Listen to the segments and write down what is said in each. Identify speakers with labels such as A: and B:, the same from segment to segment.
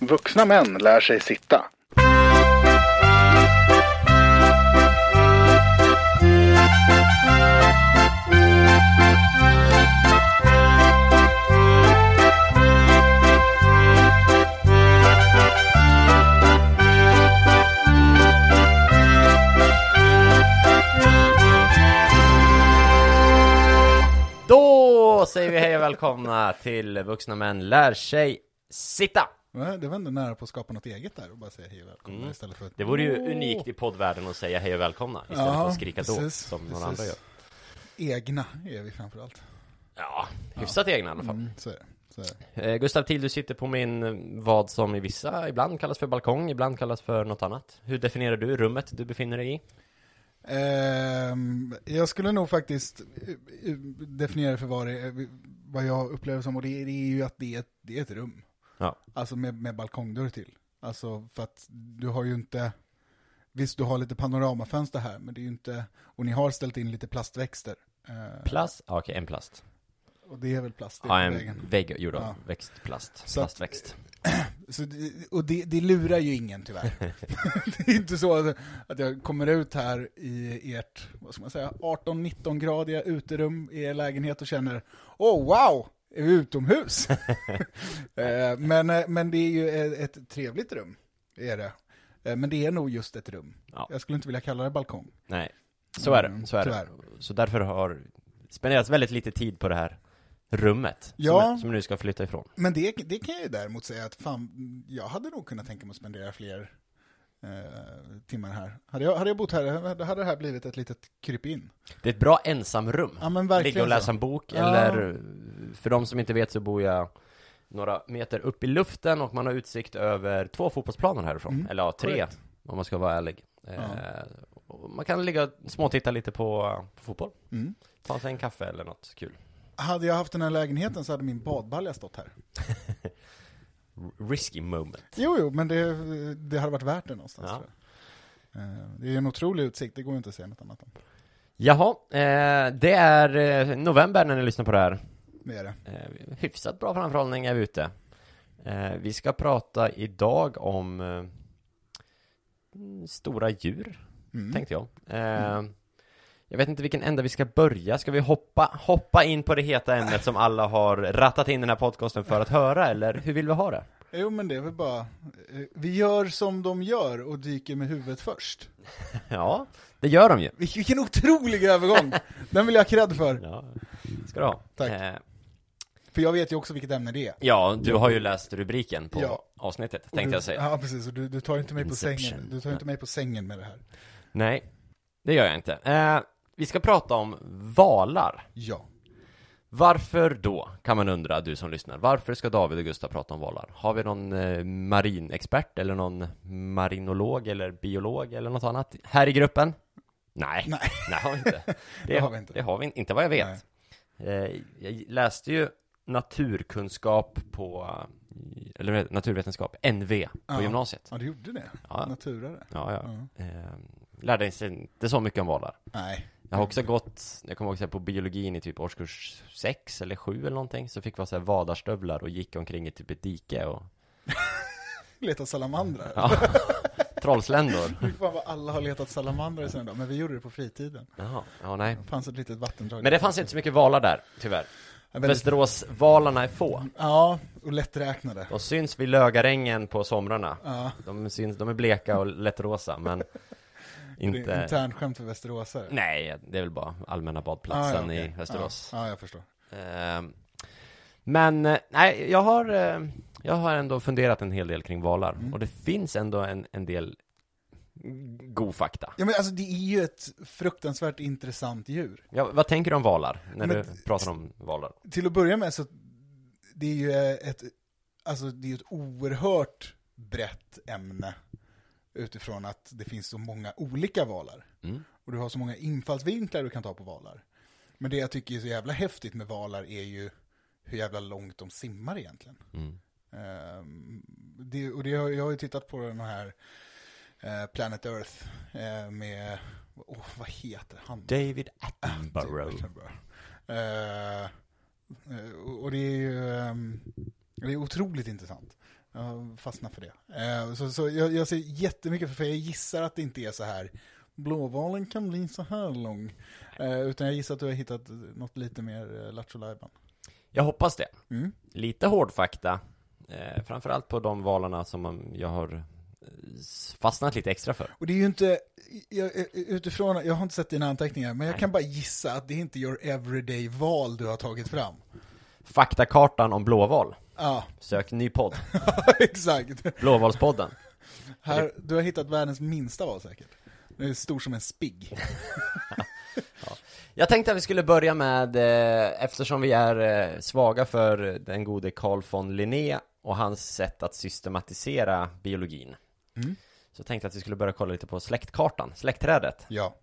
A: Vuxna män lär sig sitta.
B: Då säger vi hej och välkomna till Vuxna Män Lär sig Sitta!
C: Nej, Det var ändå nära på att skapa något eget där och bara säga hej och välkomna istället för att...
B: Mm. Det vore ju unikt i poddvärlden att säga hej och välkomna istället
C: Ja,
B: för att skrika då,
C: precis,
B: som några
C: precis.
B: andra gör.
C: Egna är vi framförallt.
B: Ja, hyfsat egna i alla fall.
C: Mm, så är det. Så är det.
B: Eh, Gustav Till, du sitter på min, eh, vad som i vissa, ibland kallas för balkong, ibland kallas för något annat. Hur definierar du rummet du befinner dig i?
C: Ehm, jag skulle nog faktiskt eh, eh, definiera det för vad, det är, eh, vad jag upplever som, och det, är- det är ju att det är ett, det är ett rum.
B: Ja.
C: Alltså med, med balkongdörr till. Alltså för att du har ju inte, visst du har lite panoramafönster här, men det är ju inte, och ni har ställt in lite plastväxter. Eh,
B: Plast? Ja, okej, en plast.
C: och det är väl plast i
B: Ja,
C: vägen.
B: en vägg gjord av
C: Ja.
B: växtplast.
C: Så att-
B: Plastväxt.
C: Så det, och det, det lurar ju ingen tyvärr. det är inte så att, att jag kommer ut här i ert, vad ska man säga, 18-19 gradiga uterum i er lägenhet och känner Åh oh, wow, är vi utomhus? Eh, men, eh, men det är ju ett, ett trevligt rum, är det. Eh, Men det är nog just ett rum.
B: Ja.
C: Jag skulle inte vilja kalla det balkong.
B: Nej, så är det.
C: Mm,
B: Så, är det.
C: tyvärr.
B: så därför har spenderats väldigt lite tid på det här rummet.
C: Ja.
B: Som, som nu ska flytta ifrån.
C: Men det, det kan jag ju däremot säga att fan, jag hade nog kunnat tänka mig att spendera fler eh, timmar här. Hade jag, hade jag bott här, hade hade det här blivit ett litet krypin.
B: Det är ett bra ensamrum.
C: Ja men verkligen
B: Ligga och läsa
C: så.
B: en bok
C: Ja.
B: eller, för de som inte vet så bor jag några meter upp i luften och man har utsikt över två fotbollsplaner härifrån.
C: Mm,
B: Eller ja, tre
C: korrekt.
B: om man ska vara ärlig. Eh, och man kan ligga och småtitta lite på, på fotboll.
C: Mm.
B: Ta sig en kaffe eller något kul.
C: Hade jag haft den här lägenheten så hade min badbalja stått här.
B: R- Risky moment.
C: Jo, jo, men det, det hade varit värt det någonstans.
B: Ja.
C: Tror jag. Eh, Det är en otrolig utsikt, det går ju inte att säga något annat om.
B: Jaha, eh, det är eh, november när ni lyssnar på det här.
C: Det är det.
B: Eh, hyfsat bra framförhållning är vi ute. Eh, vi ska prata idag om eh, mm, stora djur,
C: Mm.
B: tänkte jag. Eh, Jag vet inte vilken ända vi ska börja. Ska vi hoppa, hoppa in på det heta ämnet som alla har rattat in den här podcasten för att höra, eller hur vill vi ha det?
C: Jo, men det är väl bara, eh, vi gör som de gör och dyker med huvudet först.
B: Ja, det gör de ju.
C: Vil- Vilken otrolig övergång! Den vill jag ha cred för,
B: Ja, ska du ha.
C: Tack.
B: Eh,
C: för jag vet ju också vilket ämne det är.
B: ja, du har ju läst rubriken på
C: Ja. Mm.
B: avsnittet,
C: Och
B: tänkte
C: du,
B: jag säga.
C: Ja, precis, och du, du tar ju inte mig på
B: Inception.
C: sängen. Du tar ju inte mig på sängen med det här.
B: Nej, det gör jag inte. Eh, vi ska prata om valar.
C: Ja.
B: Varför då, kan man undra, du som lyssnar. Varför ska David och Gustav prata om valar? Har vi någon eh, marinexpert eller någon marinolog eller biolog eller något annat här i gruppen? Nej,
C: Nej.
B: det har vi inte. Det,
C: har vi inte.
B: Det har vi in- inte vad jag vet. Eh, jag läste ju naturkunskap på, eh, eller vad heter det? naturvetenskap, NV, på
C: Ja.
B: gymnasiet.
C: Ja, du gjorde det.
B: Ja.
C: Naturare.
B: Ja, ja. Eh, lärde sig inte så mycket om valar.
C: Nej.
B: Jag har också gått, jag kommer ihåg så här, på biologin i typ årskurs 6 eller 7 eller någonting Så fick vi ha så här vadarstövlar och gick omkring i typ ett dike och
C: Leta salamandrar.
B: ja, trollsländor
C: Fy fan vad alla har letat salamandrar i sina dagar, men vi gjorde det på fritiden.
B: Jaha, ja nej
C: Det fanns ett litet vattendrag.
B: Men det fanns inte så mycket valar där, tyvärr
C: Ja, väldigt-
B: Västeråsvalarna är få
C: Ja, och lätträknade.
B: De syns vid Lögarängen på somrarna
C: Ja,
B: De, syns, de är bleka och lättrosa men
C: det är
B: inte
C: internskämt för västeråsare.
B: Nej, det är väl bara allmänna badplatsen
C: okej.
B: i Västerås
C: Ah, Ja, ja, jag förstår.
B: Ehm, Men eh, nej, jag har, eh, jag har ändå funderat en hel del kring valar
C: Mm.
B: och det finns ändå en, en del god fakta.
C: Ja, men alltså det är ju ett fruktansvärt intressant djur.
B: Ja, vad tänker du om valar när
C: Men-
B: du pratar om valar?
C: Till att börja med så, det är ju ett, alltså det är ju ett oerhört brett ämne utifrån att det finns så många olika valar.
B: Mm.
C: Och du har så många infallsvinklar du kan ta på valar. Men det jag tycker är så jävla häftigt med valar är ju hur jävla långt de simmar egentligen.
B: Mm.
C: Ehm, det, och det, har- jag har ju tittat på den här eh, Planet Earth eh, med, åh, vad heter han?
B: David
C: Attenborough.
B: Attenborough.
C: Eh, eh, och det är ju ehm, det är otroligt intressant. Eh, Jag fastnar för det. Eh, Så, så jag, jag ser jättemycket för, för jag gissar att det inte är så här. Blåvalen kan bli så här lång. Eh, utan jag gissar att du har hittat något lite mer eh, Lattjo Lajban.
B: Jag hoppas det.
C: Mm.
B: Lite hård fakta. Eh, framförallt på de valarna som man- jag har eh, s- fastnat lite extra för.
C: Och det är ju inte, jag, eh, utifrån, jag har inte sett dina anteckningar, men jag kan bara gissa att det är inte your everyday val du har tagit fram.
B: Faktakartan om blåval.
C: Ja,
B: Sök ny podd.
C: exakt.
B: Blåvalspodden.
C: Här, du har hittat världens minsta val säkert. Den är stor som en spigg.
B: Jag tänkte att vi skulle börja med, eh, eftersom vi är eh, svaga för den gode Carl von Linné och hans sätt att systematisera biologin.
C: Mm.
B: Så tänkte jag att vi skulle börja kolla lite på släktkartan, släktträdet.
C: Ja.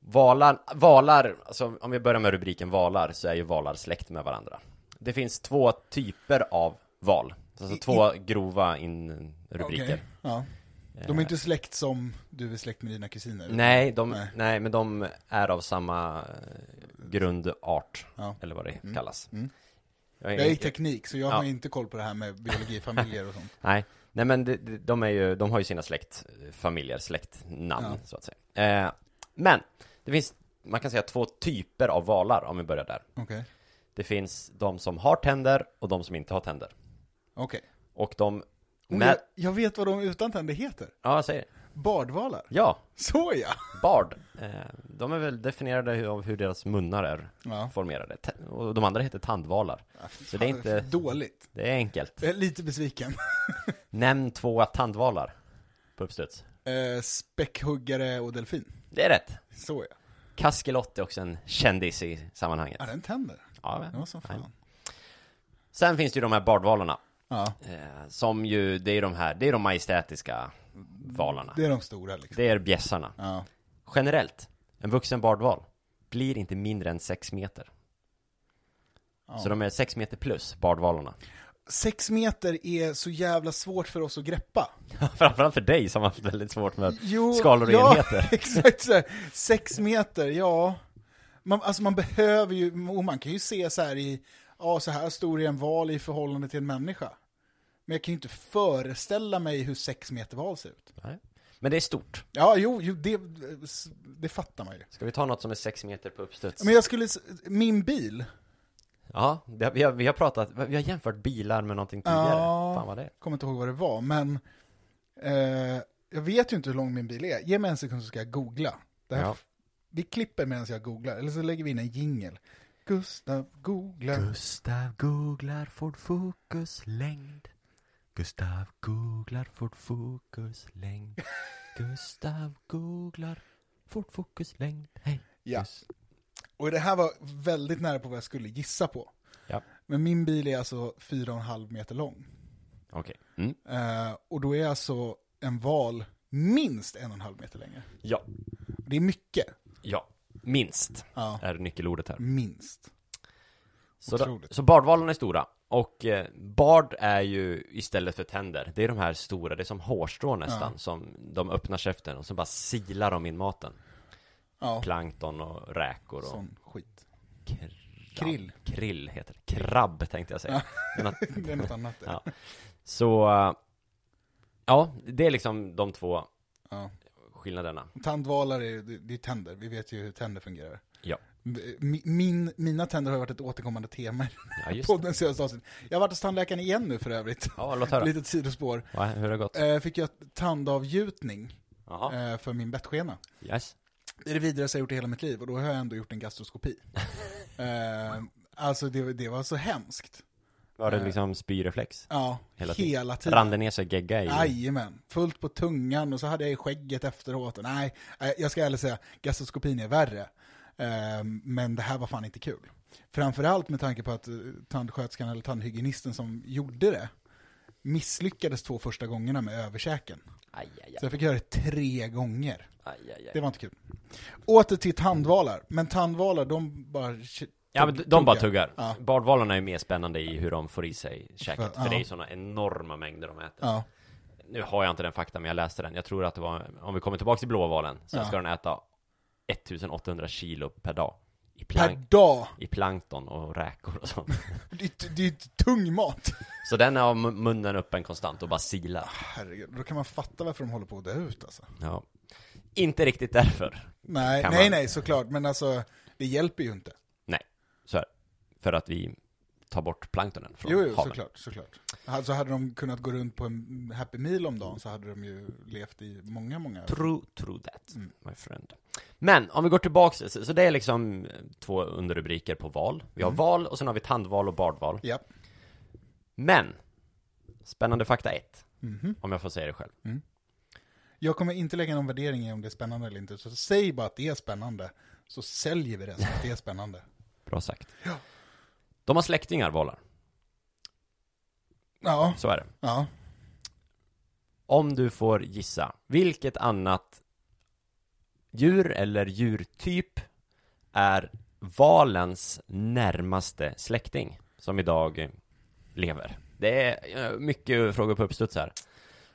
B: Valar, valar, alltså om vi börjar med rubriken valar, så är ju valar släkt med varandra. Det finns två typer av val, alltså
C: I-
B: två grova in rubriker.
C: Okej. Ja. De är inte släkt som du är släkt med dina kusiner.
B: Nej, de, nej.
C: Nej.
B: men de är av samma eh, grundart,
C: Ja.
B: eller vad det kallas.
C: Mm.
B: Jag är
C: Jag är
B: inte-
C: teknik, så jag
B: Ja.
C: har inte koll på det här med biologifamiljer och sånt.
B: Nej, nej men de, de- de, är ju, de har ju sina släktfamiljer, släktnamn
C: Ja.
B: så att säga. Eh, men, det finns, man kan säga två typer av valar om vi börjar där.
C: Okej.
B: Det finns de som har tänder och de som inte har tänder.
C: Okej.
B: Och de,
C: Och
B: med,
C: Jag, jag vet vad de utan tänder heter.
B: ja jag säger det.
C: Bardvalar.
B: ja,
C: Så ja.
B: bard. Eh, de är väl definierade hur- av hur deras munnar är
C: Ja.
B: formerade. Tä- Och de andra heter tandvalar. Så det är inte-
C: Dåligt.
B: Det är enkelt.
C: Jag är lite besviken.
B: Nämn två tandvalar på uppstuds.
C: Eh, späckhuggare och delfin.
B: Det är rätt.
C: Så ja.
B: Kaskelot är också en kändis i sammanhanget.
C: Ja, den tänder.
B: Ja, men-
C: Det var som
B: Nej.
C: fan.
B: Sen finns det ju de här bardvalarna,
C: Ja,
B: eh, som ju, det är de här, det är de majestätiska valarna.
C: det är de stora liksom.
B: Det är bjässarna.
C: Ja.
B: Generellt, en vuxen bardval blir inte mindre än 6 meter.
C: Ja.
B: Så de är 6 meter plus, bardvalarna.
C: Sex meter är så jävla svårt för oss att greppa.
B: Framförallt för dig som har haft väldigt svårt med
C: Jo,
B: skalor och
C: ja,
B: enheter.
C: exakt så här. Sex meter, ja. Man, alltså man behöver ju, och man kan ju se så här i, ja så här stor är en val i förhållande till en människa. Men jag kan ju inte föreställa mig hur sex meter val ser ut.
B: Nej. Men det är stort.
C: Ja, jo, jo det, det fattar man ju.
B: Ska vi ta något som är 6 meter på uppstuds?
C: Men jag skulle, s- min bil
B: Ja, det, vi, har, vi har pratat, vi har jämfört bilar med någonting tidigare.
C: Ja.
B: Fan vad det är.
C: kommer inte ihåg vad det var, men eh, jag vet ju inte hur lång min bil är. Ge mig en sekund så ska jag googla. Det här,
B: Ja.
C: Vi klipper medan jag googlar, eller så lägger vi in en jingel. Gustav googlar.
B: Gustav googlar Ford Focus längd. Gustav googlar Ford Focus längd. Gustav googlar Ford Focus längd. Hej.
C: Ja.
B: Gus-
C: Och det här var väldigt nära på vad jag skulle gissa på.
B: Ja.
C: Men min bil är alltså 4,5 meter lång.
B: Okej. Mm.
C: Eh, och då är alltså en val minst 1,5 meter längre.
B: Ja.
C: Det är mycket.
B: Ja. Minst
C: Ja,
B: är nyckelordet här.
C: minst.
B: Så, då,
C: Otroligt.
B: så bardvalen är stora. Och eh, bard är ju istället för tänder, det är de här stora, det är som hårstrån nästan, som de öppnar käften och så bara silar de in maten.
C: Ja,
B: Plankton och räkor och
C: sån skit.
B: krabb.
C: Krill.
B: Krill heter det. Krabb tänkte jag säga. Men att,
C: Det är något annat. det.
B: Ja. så, eh, ja, det är liksom de två
C: Ja.
B: skillnaderna.
C: Tandvalar är, det det är tänder, vi vet ju hur tänder fungerar.
B: Ja,
C: Mi- Min, mina tänder har varit ett återkommande tema
B: ja just
C: på
B: det.
C: den senaste avsnittet. Jag har varit hos tandläkaren igen nu för övrigt.
B: Ja, låt höra.
C: Litet sidospår.
B: Va, hur har det gått?
C: Eh, fick jag tandavgjutning
B: Jaha,
C: eh, för min bettskena.
B: yes.
C: Det är det vidrigaste jag gjort i hela mitt liv och då har jag ändå gjort en gastroskopi. eh, alltså det, det var så hemskt.
B: Var det
C: eh,
B: liksom spyreflex?
C: Ja,
B: Hela
C: hela,
B: tiden.
C: tiden.
B: Rann det ner sig gegga i?
C: Jajamän, fullt på tungan och så hade jag i skägget efteråt. Och nej, eh, jag ska ärligt säga, gastroskopin är värre. Eh, Men det här var fan inte kul. Framförallt med tanke på att eh, tandsköterskan eller tandhygienisten som gjorde det misslyckades två första gångerna med överkäken.
B: Aj, aj,
C: Så
B: aj,
C: jag fick göra det tre gånger.
B: aj, aj,
C: Det
B: aj.
C: var inte kul. Åter till tandvalar, men tandvalar de bara...
B: Ja men de- de bara
C: tuggar.
B: tuggar.
C: Ja.
B: Bardvalarna är ju mer spännande i hur de får i sig käket. För,
C: ja.
B: det är ju sådana enorma mängder de äter.
C: Ja,
B: Nu har jag inte den fakta, men jag läste den. Jag tror att det var, om vi kommer tillbaka till blåvalen, så
C: Ja.
B: ska den äta 1800 kilo per dag. i,
C: Per
B: plank,
C: dag.
B: i plankton och räkor och sånt.
C: Det, är- det är ju tung mat.
B: Så den har mu- munnen öppen konstant och bara silar.
C: Herregud, då kan man fatta varför de håller på att dö ut alltså.
B: Ja. Inte riktigt därför.
C: Nej,
B: Kan
C: nej,
B: man-
C: nej, såklart. Men alltså, det hjälper ju inte.
B: Nej, så här. För att vi tar bort planktonen från
C: Jo, jo
B: haven.
C: såklart, såklart. Alltså hade de kunnat gå runt på en happy meal om dagen så hade de ju levt i många, många...
B: True, true that, my friend. Men om vi går tillbaks, så så det är liksom eh, två underrubriker på val. Vi har val och sen har vi tandval och bardval.
C: Ja.
B: Men, spännande fakta ett, om jag får säga det själv.
C: Mhm. Jag kommer inte lägga någon värdering i om det är spännande eller inte, så säg bara att det är spännande, så säljer vi det som att det är spännande.
B: Bra sagt. De har släktingar, valar.
C: Ja,
B: Så är det.
C: ja.
B: Om du får gissa, vilket annat djur eller djurtyp är valens närmaste släkting som idag eh, lever? Det är eh, mycket frågor på uppstuds här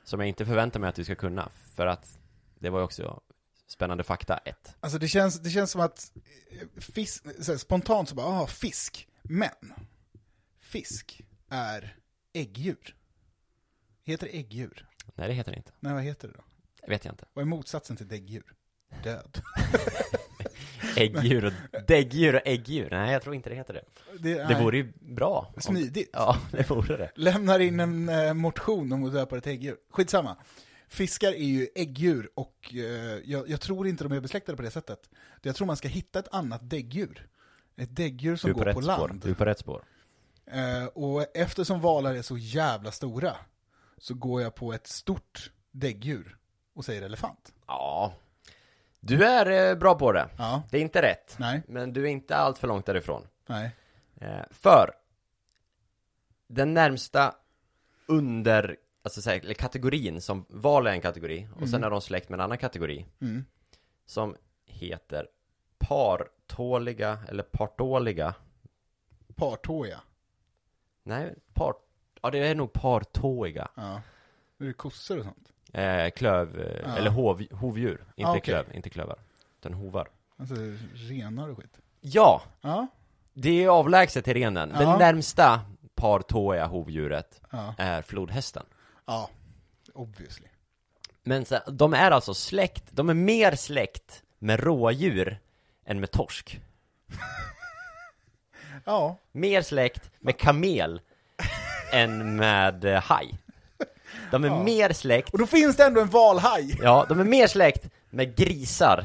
B: som jag inte förväntar mig att du ska kunna för att det var ju också spännande fakta ett.
C: Alltså det känns, det känns som att eh, fisk, så här, spontant så bara, ah, fisk. Men, fisk är äggdjur. Heter det äggdjur?
B: Nej, det heter det inte.
C: Nej, vad heter det då?
B: Det vet jag inte.
C: Vad är motsatsen till däggdjur? Död.
B: Äggdjur och däggdjur och äggdjur. Nej, jag tror inte det heter det. Det
C: nej.
B: vore ju bra. om-
C: Smidigt.
B: Ja, det vore det.
C: Lämnar in en eh, motion om att döpa ett äggdjur. Skitsamma. Fiskar är ju äggdjur och eh, jag, jag tror inte de är besläktade på det sättet. Jag tror man ska hitta ett annat däggdjur. Ett däggdur som
B: Du är på
C: går
B: rätt
C: på
B: spår.
C: land.
B: Du är på rätt spår.
C: Eh, och eftersom valar är så jävla stora så går jag på ett stort däggdjur och säger elefant.
B: Ja. Du är eh, bra på det.
C: Ja,
B: Det är inte rätt.
C: nej,
B: Men du är inte allt för långt därifrån.
C: nej.
B: Eh, för den närmsta under, alltså så här, eller kategorin som val är en kategori och sen är de släkt med en annan kategori
C: Mm.
B: som heter partåliga eller partåliga.
C: Partåiga.
B: Nej, part, ja det är nog partåiga.
C: Ja. Nu är det kossor och sånt.
B: Eh, klöv, eh,
C: Ja.
B: eller hov, hovdjur. Inte
C: Ah, okej.
B: klöv, inte klövar. Utan hovar.
C: Alltså renar och skit.
B: Ja,
C: Ja,
B: Det är avlägset till renen. Det
C: Ja.
B: närmsta partåiga hovdjuret
C: ja,
B: är flodhästen.
C: ja. Obviously.
B: Men så, de är alltså släkt, de är mer släkt med rådjur än med torsk.
C: Ja,
B: Mer släkt med kamel än med eh, haj. De är mer släkt,
C: Och då finns det ändå en valhaj!
B: ja, de är mer släkt med grisar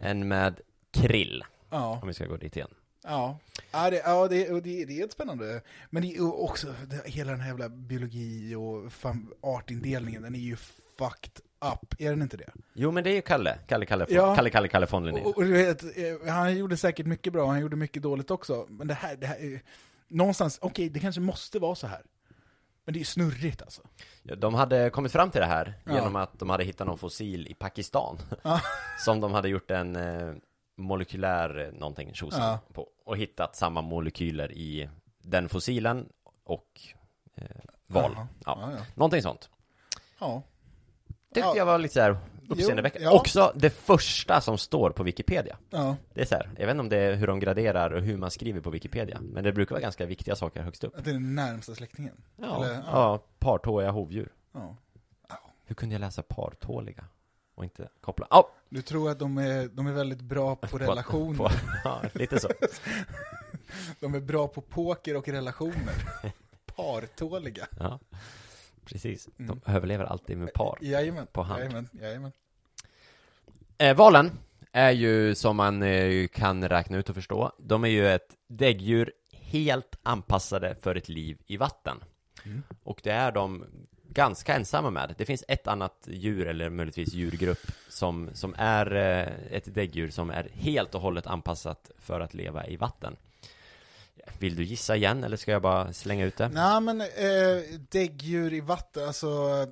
B: än med krill.
C: Ja,
B: Om vi ska gå dit igen.
C: ja. Ja, det, ja det, och det, det är ett spännande. Men det är ju också, det, hela den här jävla biologi och fan, artindelningen, den är ju fucked up. Är den inte det?
B: Jo men det är ju Kalle, Kalle, Kalle,
C: Ja.
B: Kalle, Kalle, Kalle von Linné.
C: Och, och du vet, eh, han gjorde säkert mycket bra, han gjorde mycket dåligt också. Men det här, det här är, någonstans, okej, det kanske måste vara så här. Men det är ju snurrigt alltså.
B: Ja, De hade kommit fram till det här
C: Ja.
B: genom att de hade hittat någon fossil i Pakistan
C: Ja.
B: Som de hade gjort en eh, molekylär eh, någonting tjosan
C: Ja.
B: på Och hittat samma molekyler i den fossilen och eh, val
C: Jaha.
B: ja.
C: Ja, ja.
B: Någonting sånt
C: Ja.
B: Tyckte
C: Ja.
B: jag var lite såhär uppseendeväckande
C: Jo, ja.
B: Också det första som står på Wikipedia
C: ja.
B: Det är såhär, jag vet inte om det är hur de graderar och hur man skriver på Wikipedia Men det brukar vara ganska viktiga saker högst upp
C: Att det är den närmsta släktingen.
B: Ja,
C: Eller,
B: Eller,
C: ja.
B: ja. partåiga hovdjur
C: Ja.
B: Hur kunde jag läsa partåliga? Och inte koppla, ja!
C: Du tror att de är, de är väldigt bra på relationer.
B: På, ja, lite så.
C: De är bra på poker och relationer. Partåliga.
B: Ja. Precis. De överlever alltid med par.
C: Jajamän.
B: På hand.
C: Jajamän. Jajamän.
B: Eh, valen är ju, som man eh, kan räkna ut och förstå, de är ju ett däggdjur helt anpassade för ett liv i vatten. Och det är de ganska ensamma med. Det finns ett annat djur, eller möjligtvis djurgrupp, som, som är eh, ett däggdjur som är helt och hållet anpassat för att leva i vatten. Vill du gissa igen, eller ska jag bara slänga ut det?
C: Nej men, eh, däggdjur i vatten, alltså,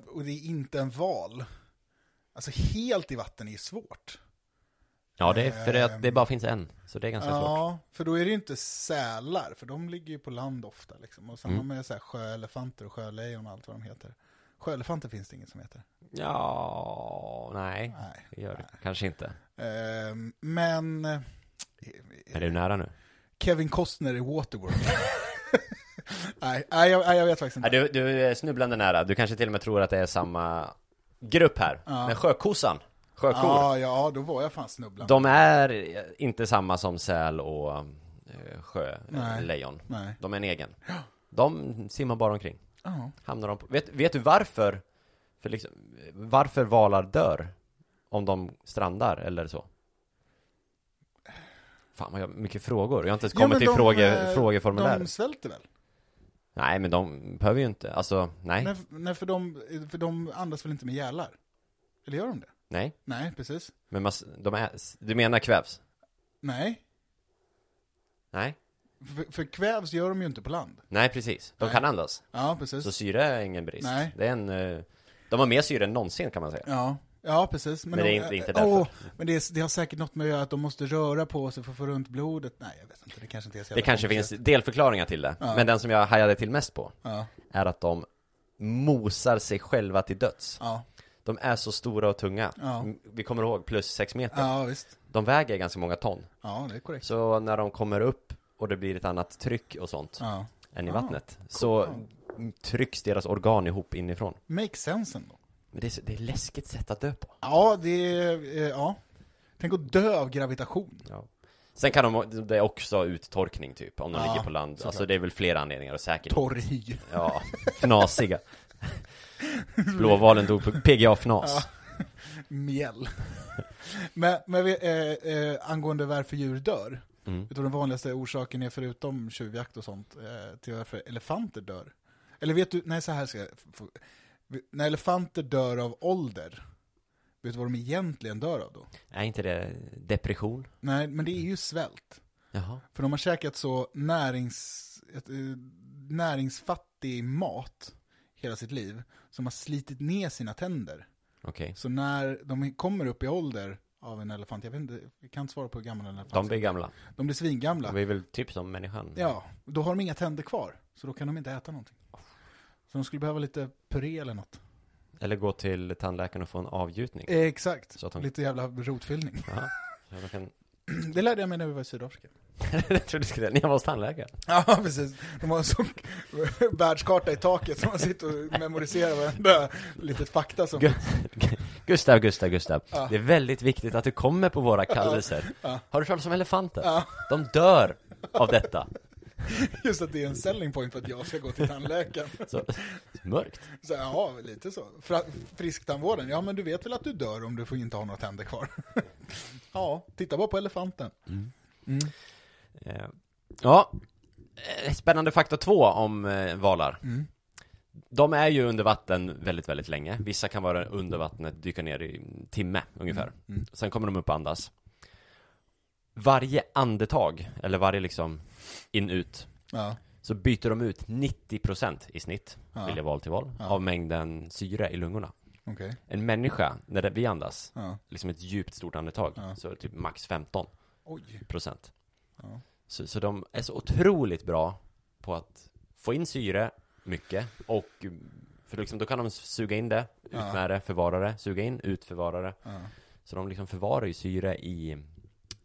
C: och det är inte en val. Alltså helt i vatten är ju svårt.
B: Ja, det är för att det bara finns en, så det är ganska svårt.
C: Ja, för då är det ju inte sälar, för de ligger ju på land ofta liksom. Och
B: Mm.
C: samma med så här, sjöelefanter och sjölejon och allt vad de heter. Sjöelefanter finns det inget som heter.
B: Ja, nej,
C: Nej.
B: det gör det kanske inte.
C: Eh, men, eh,
B: Men det är nära nu.
C: Kevin Costner i Waterworld. nej, nej, jag, nej, jag vet faktiskt
B: Ja,
C: inte.
B: du, du är snubblande nära. Du kanske till och med tror att det är samma grupp här. Men sjökossan, sjökor,
C: Ja, ja, då var jag fan snubblan.
B: de är inte samma som säl och eh, sjölejon.
C: Nej.
B: De är en egen. De simmar bara omkring.
C: Ja.
B: Hamnar de på... vet, vet du varför? För liksom, varför valar dör? Om de strandar eller så? Fan vad jag mycket frågor. Jag har inte ens
C: Jo,
B: kommit
C: men
B: till
C: de,
B: fråge,
C: eh,
B: frågeformulär.
C: De svälter väl?
B: Nej men de behöver ju inte, alltså nej,
C: Nej,
B: nej.
C: f- nej för, de, för de andas väl inte med gälar? Eller gör de det? Nej, precis.
B: Men man, s- de är, s- du menar kvävs?
C: Nej,
B: Nej?
C: för, för kvävs gör de ju inte på land.
B: Nej precis, de
C: Nej.
B: kan andas.
C: Ja, precis.
B: Så syre är ingen brist.
C: Nej.
B: Det är en, eh, de har mer syre än någonsin kan man säga.
C: Ja, ja precis.
B: Men det är
C: de-
B: inte- inte
C: eh,
B: därför.
C: åh, men det, är, det har säkert något med att göra att de måste röra på sig för att få runt blodet. Nej, jag vet inte. Det kanske inte är så
B: Det
C: jävla
B: kanske finns
C: komplicerat.
B: delförklaringar till det, men den som jag hajade till mest på
C: Ja,
B: är att de mosar sig själva till döds.
C: ja,
B: De är så stora och tunga.
C: Ja.
B: M- Vi kommer ihåg plus 6 meter.
C: ja, visst.
B: De väger ganska många ton.
C: Ja, det är korrekt.
B: Så när de kommer upp och det blir ett annat tryck och sånt
C: Ja.
B: än i vattnet, så trycks deras organ ihop inifrån.
C: Makes sense ändå.
B: Men det är, så- det är ett läskigt sätt att dö på.
C: Ja, det är... eh, Ja. Tänk att dö av gravitation.
B: Sen kan de, det är också uttorkning typ, om de
C: Ja,
B: ligger på land. Alltså det är väl flera anledningar och säkert.
C: Torr hy.
B: Ja, fnasiga. Blåvalen dog på PGA-fnas.
C: Mjäll. men men vi, eh, eh, angående varför djur dör. Jag tror den vanligaste orsaken är förutom tjuvjakt och sånt, eh, till varför elefanter dör. Eller vet du, nej så här ska jag, f- f- när elefanter dör av ålder, vet du vad de egentligen dör av då?
B: Är inte det depression?
C: Nej, men det är ju svält.
B: Jaha.
C: För de har käkat så närings, ett, eh, näringsfattig mat hela sitt liv, som har slitit ner sina tänder.
B: Okej.
C: Så när de kommer upp i ålder av en elefant, jag, vet inte, jag kan inte svara på hur gammal en elefant
B: De blir gamla.
C: de blir svingamla.
B: De är väl typ som människan.
C: Ja, då har de inga tänder kvar, så då kan de inte äta någonting. Så de skulle behöva lite puré eller något.
B: Eller gå till tandläkaren och få en avgjutning.
C: Eh, exakt,
B: Så att de-
C: lite jävla rotfyllning.
B: Jaha. Ja, de kan...
C: Det lärde jag mig när vi var i Sydafrika.
B: jag trodde du skulle säga, när jag var hos tandläkaren.
C: Ja, precis. De har en sån världskarta i taket som man sitter och memoriserar varenda litet fakta som...
B: Gu- Gustav, Gustav, Gustav.
C: Ja.
B: Det är väldigt viktigt att du kommer på våra kallelser.
C: Ja.
B: Har du hört talas om elefanter?
C: Ja.
B: De dör av detta.
C: Just att det är en selling point för att jag ska gå till tandläkaren.
B: Så, mörkt.
C: Så, ja, lite så. Fra- Frisktandvården, ja men du vet väl att du dör om du får inte ha några tänder kvar? ja, titta bara på elefanten. Mm,
B: Eh, Ja, Eh, spännande fakta två om eh, valar.
C: mm,
B: De är ju under vatten väldigt, väldigt länge. Vissa kan vara under vattnet, dyka ner i en timme ungefär.
C: Mm.
B: Sen kommer de upp och andas. Varje andetag, eller varje liksom in-ut,
C: Ja,
B: så byter de ut 90% i snitt,
C: Ja.
B: vilja val till val, av mängden syre i lungorna.
C: okej.
B: En människa, när det- vi andas,
C: Ja.
B: liksom ett djupt stort andetag,
C: Ja.
B: så typ max 15
C: Oj.
B: procent.
C: Ja.
B: Så, så de är så otroligt bra på att få in syre mycket och för liksom, då kan de suga in det, ut
C: Ja.
B: med det, förvara det, suga in, ut, förvara det.
C: Ja.
B: Så de liksom förvarar ju syre i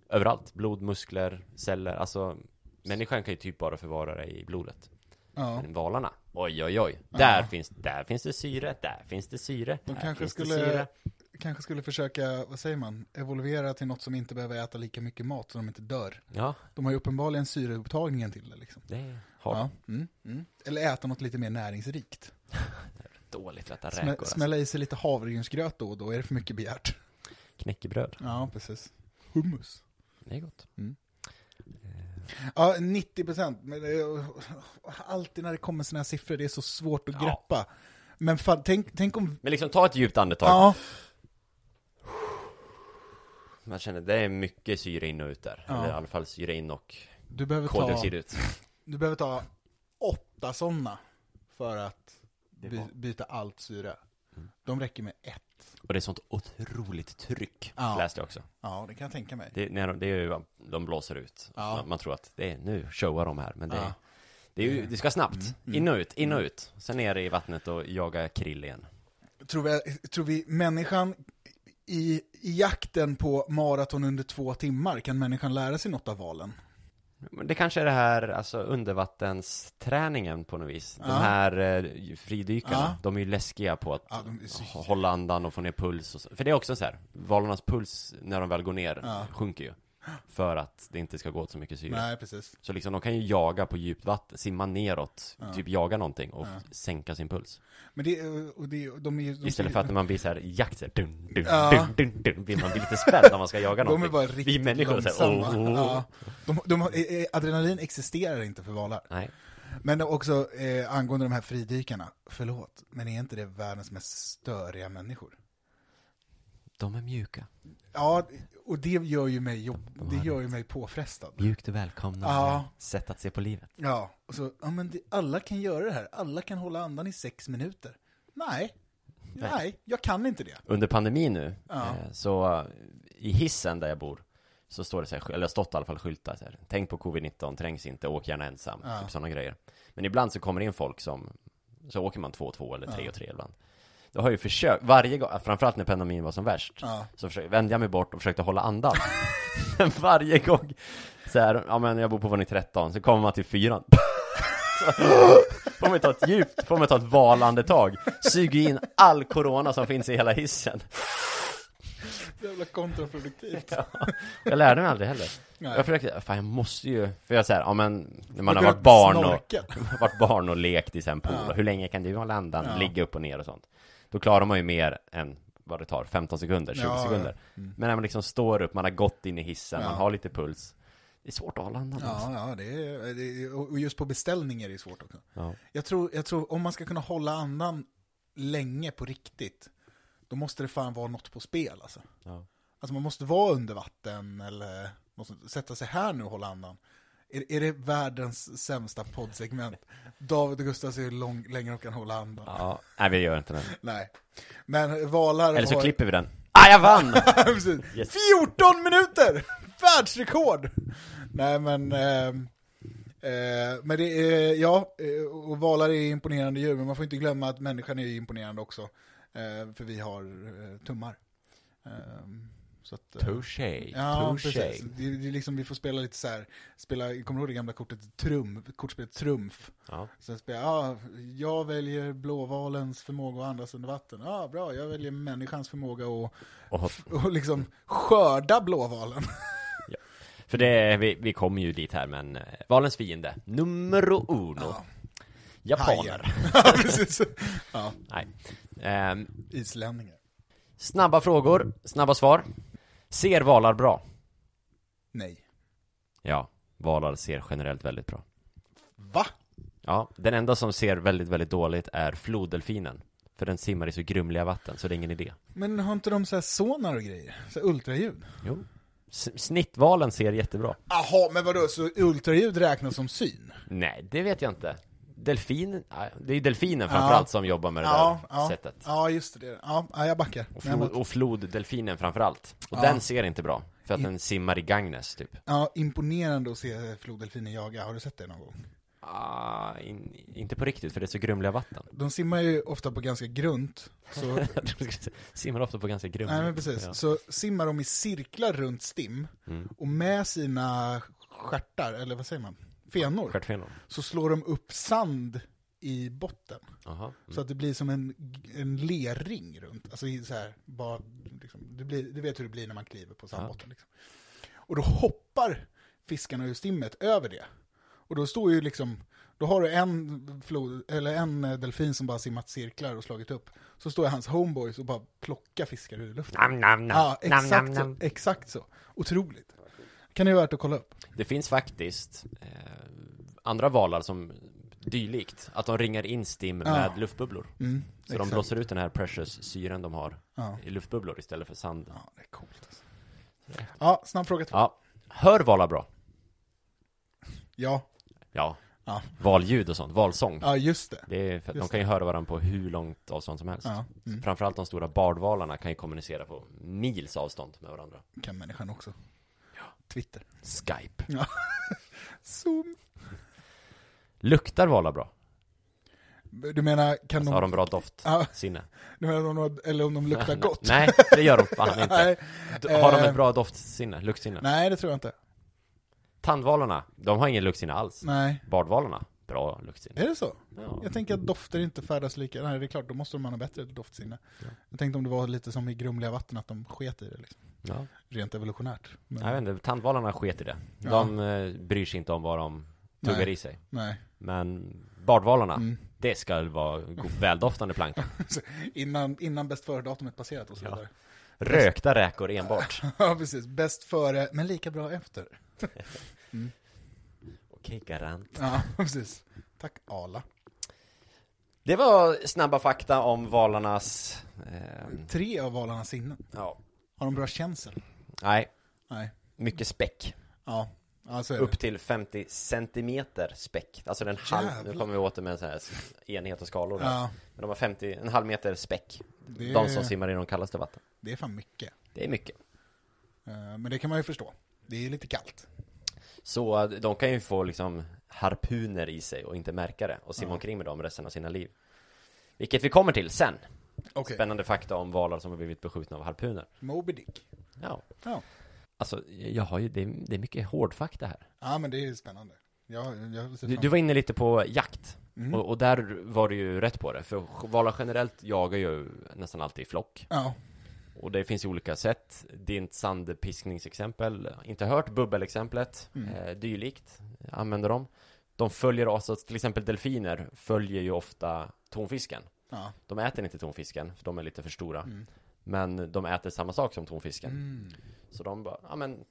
B: överallt, blod, muskler, celler, alltså människan kan ju typ bara förvara det i blodet.
C: Ja.
B: Men valarna, oj oj oj, där, finns, där finns det syre, där finns det syre,
C: De
B: här
C: kanske
B: finns det
C: skulle,
B: syre.
C: kanske skulle försöka, vad säger man, evolvera till något som inte behöver äta lika mycket mat så de inte dör.
B: Ja,
C: De har ju uppenbarligen syreupptagningen till det liksom.
B: det har
C: Ja. Mm. Mm. Eller äta något lite mer näringsrikt.
B: de. Dåligt att äta
C: Smä,
B: räkor alltså.
C: smälla i sig lite havregrynsgröt då och då, är det för mycket begärt?
B: Knäckebröd,
C: Ja, precis. Hummus.
B: det är gott.
C: Ja, 90 procent. Men det är- alltid när det kommer sådana här siffror, det är så svårt att
B: Ja.
C: greppa. Men fan, tänk, tänk om...
B: Men liksom ta ett djupt andetag.
C: Ja,
B: Man känner det är mycket syre in och ut där.
C: Ja.
B: Eller i alla fall syre in och
C: du behöver ta,
B: koldioxid ut.
C: du behöver ta åtta sådana för att by,
B: var-
C: byta allt syre.
B: Mm.
C: De räcker med ett.
B: Och det är sånt otroligt tryck,
C: Ja.
B: läste jag också.
C: Ja, det kan jag tänka mig.
B: Det, när de, det är ju, de blåser ut.
C: Ja.
B: Man, man tror att det är, nu showar de här, men det,
C: Ja. Mm.
B: det, är ju, det ska snabbt. In och ut, in och ut. Sen ner i vattnet och jaga krill igen.
C: Tror vi, tror vi människan i, i jakten på maraton under två timmar kan människan lära sig något av valen.
B: Men det kanske är det här, alltså undervattensträningen på något vis. De
C: Ja.
B: här eh, fridykarna,
C: Ja.
B: de är ju läskiga på att
C: Ja, de är så-
B: hå- hålla andan och få ner puls och så. För det är också så här, valarnas puls när de väl går ner
C: Ja.
B: sjunker ju. För att det inte ska gå åt så mycket syre.
C: Nej, precis.
B: Så liksom de kan ju jaga på djupt vatten, simma neråt,
C: Ja.
B: typ jaga någonting och
C: Ja.
B: f- sänka sin puls.
C: Men det, och det, de är, de
B: Istället för att när man blir så här i jakt så här, dun, dun,
C: Ja.
B: dun, dun, dun, blir man blir lite spänd när man ska jaga
C: de är
B: någonting.
C: bara riktigt
B: Vi människor så här,
C: långsamma.
B: oh, oh.
C: Ja. De, de, har- eh, eh, adrenalin existerar inte för valar.
B: Nej,
C: Men också eh, angående de här fridykarna, förlåt, men är inte det världens mest störiga människor?
B: de är mjuka.
C: Ja, och det gör ju mig, jobb, det gör ju mig påfrestad.
B: Mjukt och välkomnande
C: Ja.
B: sätt att se på livet.
C: Ja, och så, ja men det, alla kan göra det här, alla kan hålla andan i sex minuter. Nej, nej, jag kan inte det.
B: Under pandemin nu,
C: Ja.
B: eh, så eh, i hissen där jag bor, så står det så här, eller det har stått i alla fall skyltar så här, tänk på covid-19, trängs inte, åk gärna ensam,
C: Ja.
B: typ sådana grejer. Men ibland så kommer det in folk som, så åker man två och två eller tre och tre ibland. Då har jag ju försökt, varje gång, framförallt när pandemin var som värst,
C: Ja.
B: så försökte, vände jag mig bort och försökte hålla andan. Men varje gång, så här, ja men jag bor på våning 13, så kommer man till fyran. Så Får man ta ett djupt, får man ta ett valandetag, suger in all corona som finns i hela hissen.
C: Jävla kontraproduktivt.
B: Jag lärde mig aldrig heller.
C: Nej.
B: Jag försökte, fan jag måste ju, för jag säger, ja men när man
C: Du går
B: har varit
C: upp
B: barn och,
C: snorken.
B: varit barn och lekt i sen pool,
C: Ja.
B: och hur länge kan du hålla andan,
C: Ja.
B: ligga upp och ner och sånt. Då klarar man ju mer än vad det tar, 15 sekunder, 20
C: Ja, ja.
B: sekunder. Men när man liksom står upp, man har gått in i hissen,
C: Ja.
B: man har lite puls. Det är svårt att hålla andan. alltså.
C: Ja, ja det är, det är, och just på beställning är det svårt också.
B: Ja.
C: Jag tror, jag tror om man ska kunna hålla andan länge på riktigt, då måste det fan vara något på spel alltså.
B: Ja.
C: Alltså man måste vara under vatten eller måste sätta sig här nu och hålla andan. Är, är det världens sämsta poddsegment? David och Gustav ser hur lång, länge de kan hålla andan.
B: ja. Nej, vi gör inte den.
C: Nej. Men valar
B: Eller så
C: har...
B: klipper vi den. Ah, jag vann!
C: Precis.
B: Yes.
C: 14 minuter! Världsrekord! Nej men... ehm, eh, men det är, ja, eh, och valar är imponerande djur, men man får inte glömma att människan är ju imponerande också. Eh, för vi har eh, tummar. Ehm, så att, eh,
B: Touché,
C: Ja,
B: touché.
C: precis. Det, det är liksom, vi får spela lite så här, spela, kommer du ihåg det gamla kortet Trum, kortspelet Trumf?
B: Ja.
C: Sen spelar ja, jag väljer blåvalens förmåga att andas under vatten. Ja, bra, jag väljer människans förmåga att
B: Och,
C: och liksom skörda blåvalen.
B: för det, vi, vi kommer ju dit här, men eh, valens fiende, numero uno.
C: Ja.
B: Japaner.
C: Ja, precis. Ja,
B: Nej. Ehm,
C: islänningar.
B: snabba frågor, snabba svar. Ser valar bra?
C: Nej.
B: Ja, valar ser generellt väldigt bra.
C: Va?
B: Ja, den enda som ser väldigt, väldigt dåligt är floddelfinen. För den simmar i så grumliga vatten, så det är ingen idé.
C: Men har inte de så här sonar och grejer? Så här ultraljud?
B: Jo. S- snittvalen ser jättebra.
C: Jaha, men vadå, så ultraljud räknas som syn?
B: Nej, det vet jag inte. Delfin, nej, det är delfinen framförallt som jobbar med det där sättet.
C: ja, just det. Ja, ja, jag backar.
B: Och,
C: Nej,
B: flod,
C: men-
B: och floddelfinen framförallt. Och
C: Ja.
B: den ser inte bra. För att den simmar i Gagnef typ.
C: Ja, imponerande att se floddelfiner jaga. Har du sett det någon gång?
B: Ah, in, inte på riktigt, för det är så grumliga vatten.
C: De simmar ju ofta på ganska grunt. Så,
B: simmar ofta på ganska grumligt.
C: nej, men precis.
B: Ja. Mm.
C: Så simmar de i cirklar runt stim och med sina stjärtar, eller vad säger man? Fenor.
B: Stjärtfenor.
C: så slår de upp sand i botten.
B: Jaha.
C: Så att det blir som en, en lerring runt. Alltså i så här, bara, liksom, du, blir, du vet hur det blir när man kliver på sandbotten. Liksom. Och då hoppar fiskarna ur stimmet över det. Och då står ju liksom, då har du en, flod, eller en eh, delfin som bara simmat cirklar och slagit upp. Så står ju hans homeboys och bara plockar fiskar ur luften.
B: Nam, nam, nam.
C: Ja,
B: nam,
C: exakt
B: nam,
C: så.
B: nam.
C: Exakt så. Otroligt. Kan det vara värt att kolla upp.
B: Det finns faktiskt eh, andra valar som dylikt, att de ringar in stim
C: Ja.
B: med luftbubblor.
C: Mm,
B: Så
C: exakt.
B: de blåser ut den här precious syren de har
C: Ja.
B: i luftbubblor istället för sand.
C: Ja, det är coolt alltså. Ja, snabb fråga till.
B: Ja. Hör valar bra?
C: Ja,
B: Ja.
C: Ja.
B: Valljud och sånt, valsång.
C: ja just det.
B: Det är för att de
C: Just
B: kan ju höra varandra på hur långt avstånd som helst.
C: Ja, mm.
B: Framförallt de stora bardvalarna kan ju kommunicera på mils avstånd med varandra.
C: kan människan också. Twitter.
B: Skype.
C: Zoom.
B: Luktar valar bra?
C: Du menar, kan
B: Så Alltså, har de
C: de...
B: bra doft,
C: Ja.
B: sinne.
C: Du menar om de, eller om de luktar gott?
B: Nej, det gör de fan inte.
C: Nej.
B: D- Har de
C: Eh.
B: ett bra doftsinne, luktsinne?
C: Nej, det tror jag inte.
B: Tandvalarna, de har ingen luktsinne alls.
C: Nej.
B: Bardvalarna, bra luktsinne.
C: Är det så?
B: Ja.
C: Jag tänker att dofter inte färdas lika. Nej, det är klart, då måste de ha bättre doftsinne. Jag tänkte om det var lite som i grumliga vatten, att de sket i det. Liksom.
B: Ja.
C: Rent evolutionärt. Men,
B: Jag vet inte, tandvalarna sket i det. De eh, bryr sig inte om vad de tuggar
C: Nej.
B: i sig.
C: nej.
B: Men bardvalarna,
C: Mm.
B: det ska vara go- väldoftande plankton.
C: Innan, innan bäst före-datumet passerat och så
B: Ja.
C: vidare.
B: Rökta räkor enbart.
C: Ja, precis. Bäst före, men lika bra efter.
B: Okej, garant.
C: Ja, precis. Tack, Ala.
B: Det var snabba fakta om valarnas... ehm,
C: Tre av valarnas sinnen.
B: ja,
C: Har de bra känsel?
B: nej,
C: Nej.
B: mycket späck.
C: Ja, ja så är det.
B: Upp till 50 centimeter späck. Alltså den halv... Nu
C: Jävlar.
B: kommer vi åter med så här s- enhet och skalor. där.
C: Ja,
B: Men de har 50, en halv meter späck.
C: det,
B: De som simmar i de kallaste vatten.
C: det är fan mycket.
B: Det är mycket.
C: Eh, Men det kan man ju förstå. Det är lite kallt.
B: Så eh, de kan ju få liksom harpuner i sig och inte märka det och simma omkring med dem resten av sina liv. Vilket vi kommer till sen.
C: Okej.
B: Spännande fakta om valar som har blivit beskjutna av harpuner.
C: Moby Dick.
B: Ja.
C: Ja.
B: Alltså, jag har ju, det, är- det är mycket hårdfakta här.
C: ja, men det är spännande. Jag, jag ser
B: Du,
C: fram
B: du var inne lite på jakt.
C: Mm.
B: Och, och där var du ju rätt på det. För valar generellt jagar ju nästan alltid i flock.
C: Ja,
B: Och det finns ju olika sätt. Ditt sandpiskningsexempel, inte hört, bubbelexemplet,
C: Mm.
B: eh, dylikt, använder de. De följer alltså, till exempel delfiner följer ju ofta tonfisken.
C: ja.
B: De äter inte tonfisken, för de är lite för stora.
C: Mm.
B: Men de äter samma sak som tonfisken.
C: Mm.
B: Så de bara, ja men,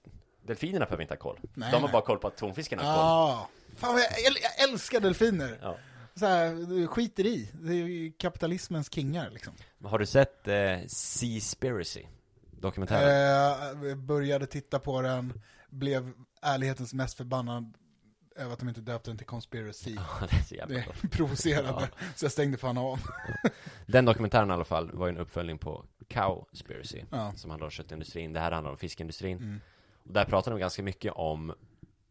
B: delfinerna behöver inte ha koll.
C: Nej,
B: de har
C: nej.
B: bara koll på att tonfisken har koll.
C: Ja. Ah, Fan, vad jag, äl- jag älskar delfiner.
B: Ja.
C: Så här, du skiter i. Det är ju kapitalismens kingar liksom.
B: Har du sett eh, Seaspiracy? Dokumentären?
C: Eh, började titta på den, blev ärlighetens mest förbannad över att de inte döpte den till Conspiracy.
B: det är så jävla
C: Det
B: gott.
C: provocerade, så jag stängde fan av.
B: Den dokumentären i alla fall var ju en uppföljning på Cowspiracy,
C: Ja.
B: som handlar om köttindustrin. Det här handlar om fiskindustrin.
C: Mm.
B: Och där pratar de ganska mycket om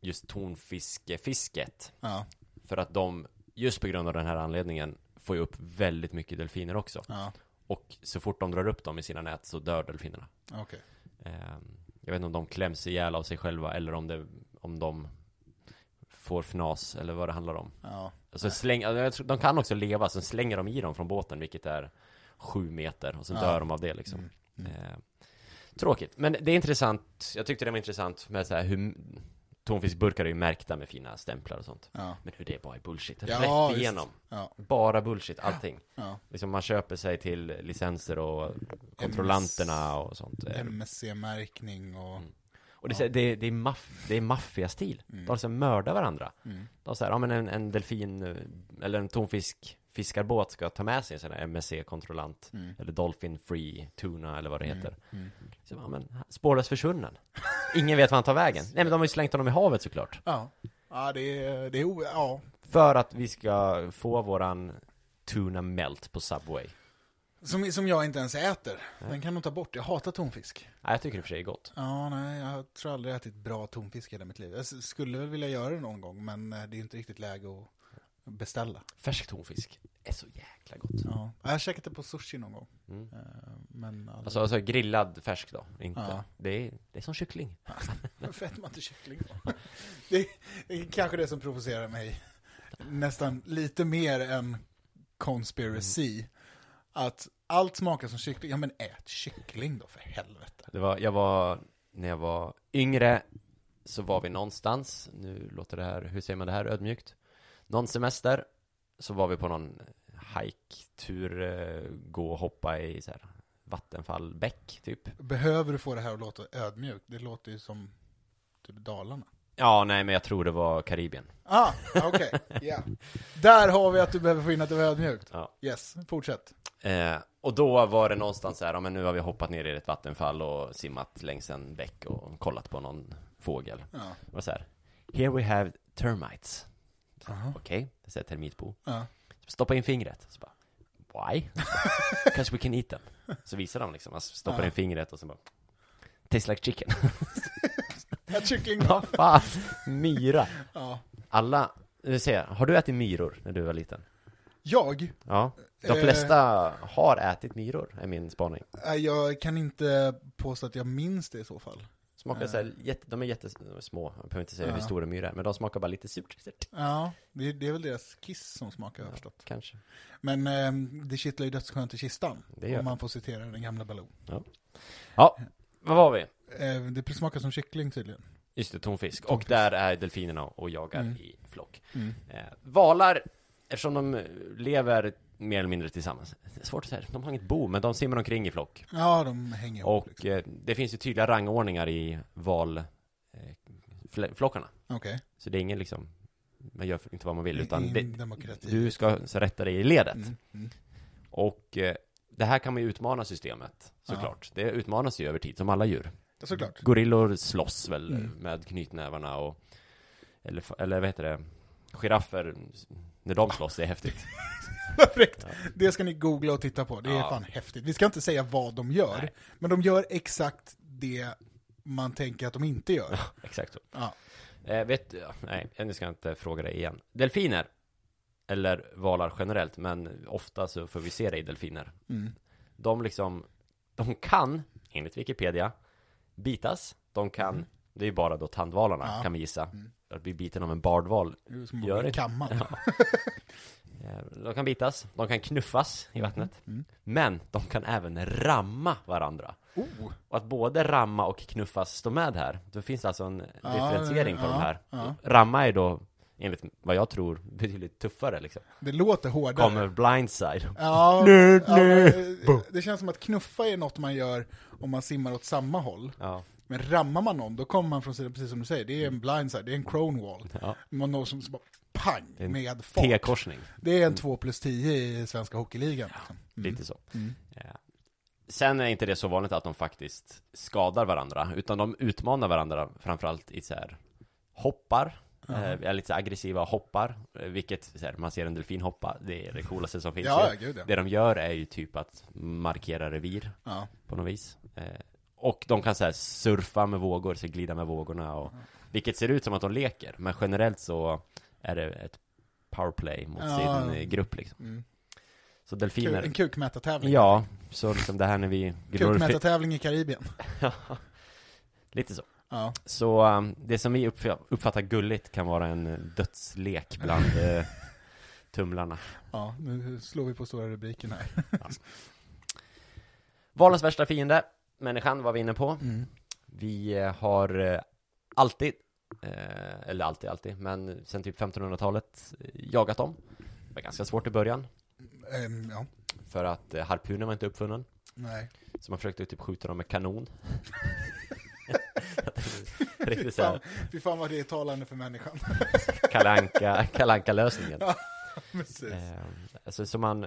B: just tonfiskefisket.
C: Ja,
B: För att de, just på grund av den här anledningen, får ju upp väldigt mycket delfiner också.
C: ja,
B: Och så fort de drar upp dem i sina nät så dör delfinerna.
C: okej.
B: Ehm, Jag vet inte om de kläms ihjäl av sig själva eller om, det, om de får fnas eller vad det handlar om.
C: Ja.
B: Alltså släng, alltså jag tror- de kan också leva, sen slänger de i dem från båten, vilket är sju meter, och sen
C: Ja.
B: dör de av det liksom.
C: Mm.
B: Eh, tråkigt, men det är intressant, jag tyckte det var intressant med så här hur tonfiskburkar är ju märkta med fina stämplar och sånt.
C: Ja,
B: Men hur det bara är bullshit,
C: Ja,
B: rätt
C: visst.
B: igenom.
C: ja,
B: Bara bullshit, allting.
C: ja.
B: Liksom man köper sig till licenser och kontrollanterna och sånt. Eh,
C: MSC-märkning och...
B: och det, är så här, det, det är, maff, det är maffiastil. De liksom mördar varandra. De säger, ja men en, en delfin eh, eller en tonfisk fiskarbåt ska ta med sig en sån här MSC-kontrollant. Eller Dolphin Free Tuna eller vad det heter.
C: Mm.
B: Så, ja, men, han- spårlöst försvunnen. Ingen vet var han tar vägen. Nej men de har ju slängt honom i havet såklart.
C: Ja, ja det är... Det är o- ja.
B: För att vi ska få våran Tuna Melt på Subway.
C: Som, som jag inte ens äter. Den kan de ta bort. Jag hatar tonfisk.
B: Nej, jag tycker det i och för sig är gott.
C: Ja, nej, jag tror aldrig jag ätit bra tonfisk i hela mitt liv. Jag s- skulle väl vilja göra det någon gång, men eh, det är inte riktigt läge att beställa.
B: Färsk tonfisk är så jäkla gott.
C: Ja. Jag har käkat det på sushi någon gång.
B: Mm.
C: Eh, Men aldrig.
B: Alltså, alltså grillad färsk då, inte.
C: Ja.
B: Det, är, det är som kyckling.
C: Varför äter man inte kyckling då? Det är- det är kanske det som provocerar mig nästan lite mer än conspiracy.
B: Mm.
C: Att allt smakar som kyckling. Ja men ät kyckling då för helvete.
B: Det var, jag var, när jag var yngre så var vi någonstans, nu låter det här, hur säger man det här, ödmjukt? Någon semester så var vi på någon hike-tur, eh, gå och hoppa i så här vattenfall, bäck typ.
C: Behöver du få det här att låta ödmjukt? Det låter ju som typ Dalarna.
B: Ja, nej men jag tror det var Karibien.
C: Ah, okej. Ja. Där har vi att du behöver få in att det var ödmjukt.
B: Ja.
C: Yes, fortsätt.
B: Eh, och då var det någonstans så här, ja, men nu har vi hoppat ner i ett vattenfall och simmat längs en bäck och kollat på någon fågel.
C: Ja.
B: Och så här, here we have termites.
C: Aha.
B: Okej, det är ett termitbo.
C: Ja.
B: Typ Stoppa in fingret. Så bara, why? Kanske we can eat them. Så visar de liksom, alltså, stoppar
C: Ja.
B: in fingret och sen bara, tastes like chicken.
C: Ät kyckling.
B: Vad fan, myra.
C: Ja.
B: Alla, nu ser jag, har du ätit myror när du var liten?
C: Jag,
B: Ja. De
C: Eh.
B: flesta har ätit myror, är min spaning.
C: äh, jag kan inte påstå att jag minns det i så fall.
B: Smakar
C: Eh.
B: så här, jätte, de är jättesmå, jag behöver inte säga hur
C: Ja.
B: stora myror är, men de smakar bara lite surt. surt.
C: Ja, det, det är väl deras kiss som smakar, har jag förstått.
B: Kanske.
C: Men eh, det kittlar ju dödsskönt i kistan,
B: Det gör
C: om man får citera den gamla Baloo.
B: Ja, vad var vi?
C: Eh, det smakar som kyckling tydligen.
B: Just det, tonfisk. Och
C: Tonfisk.
B: där är delfinerna och jagar
C: Mm.
B: i flock.
C: Mm.
B: Eh, valar, eftersom de eh, lever mer eller mindre tillsammans. Det är svårt att säga, de har inget bo, men de simmar omkring i flock.
C: Ja, de hänger ihop.
B: Och
C: liksom.
B: eh, det finns ju tydliga rangordningar i valflockarna.
C: Okej,
B: Så det är ingen liksom, man gör inte vad man vill, utan
C: Ingen
B: det,
C: demokrati.
B: du ska så rätta dig i ledet.
C: Mm, mm.
B: Och eh, det här kan man ju utmana systemet, såklart. Det utmanas ju över tid, som alla djur.
C: Ja, Såklart.
B: Gorillor slåss väl
C: Mm.
B: med knytnävarna och, eller, eller vad heter det, giraffer, när de slåss, det är häftigt.
C: Perfekt. Det ska ni googla och titta på. Det är
B: Ja.
C: fan häftigt. Vi ska inte säga vad de gör,
B: Nej.
C: men de gör exakt det man tänker att de inte gör.
B: Exakt så.
C: Ja.
B: Eh, vet, ja, nej, nu ska jag inte fråga dig igen. Delfiner, eller valar generellt, men ofta så får vi se det i delfiner.
C: Mm.
B: De liksom, de kan, enligt Wikipedia, bitas. De kan, det är ju bara då tandvalarna,
C: Mm. Ja.
B: kan vi gissa.
C: Mm.
B: Att bli biten av en bardval.
C: Det är som att
B: Gör
C: bli
B: det.
C: kammad.
B: Eh, De kan bitas, de kan knuffas i vattnet.
C: Mm.
B: Men de kan även ramma varandra.
C: Oh.
B: Och att både ramma och knuffas står med här, då finns det alltså en
C: Ja,
B: differentiering på
C: ja,
B: de här.
C: ja.
B: Ramma är då, enligt vad jag tror, betydligt tuffare liksom.
C: Det låter hårdare.
B: Kommer blindside.
C: Ja,
B: Nerd,
C: ja, men,
B: nerd.
C: eh,
B: Boom.
C: det känns som att knuffa är något man gör om man simmar åt samma håll.
B: Ja,
C: Men rammar man någon, då kommer man från sidan, precis som du säger, det är
B: Mm.
C: en blindside, det är en cronewall.
B: ja.
C: Man når som, som bara pang
B: En
C: med fart.
B: T-korsning,
C: Det är en 2 plus 10 i svenska hockeyligan. liksom. Mm.
B: lite så.
C: Mm.
B: Eh, Sen är inte det så vanligt att de faktiskt skadar varandra, utan de utmanar varandra framförallt i så här hoppar, eh, eller lite så här aggressiva hoppar, eh, vilket så här, man ser en delfin hoppa, det är det coolaste som finns
C: Ja,
B: ju.
C: ja, gud ja.
B: Det de gör är ju typ att markera revir
C: ja.
B: på något vis. Eh, och de kan så här surfa med vågor, så glida med vågorna och vilket ser ut som att de leker, men generellt så är det ett powerplay mot
C: Ja.
B: sin eh, grupp liksom.
C: Mm.
B: Så
C: Kul,
B: delfiner,
C: en kukmätartävling.
B: ja, så liksom det här när vi glorifierar,
C: Kukmätartävling i Karibien.
B: lite så.
C: Ja.
B: Så um, det som vi uppf- uppfattar gulligt kan vara en eh, dödslek bland eh, tumlarna.
C: ja, nu slår vi på stora rubriken här.
B: Valens värsta fiende, människan var vi inne på.
C: Mm.
B: Vi eh, har eh, alltid, eh, eller alltid, alltid, men sen typ 1500-talet eh, jagat dem. Det var ganska svårt i början,
C: Ehm, ja,
B: för att eh, harpunen var inte uppfunnen.
C: nej.
B: Så man försökte typ skjuta dem med kanon. Riktigt
C: Fy fan,
B: såhär
C: fy fan vad det är talande för människan.
B: kalanka, kalanka lösningen
C: Precis.
B: Eh, alltså, så man,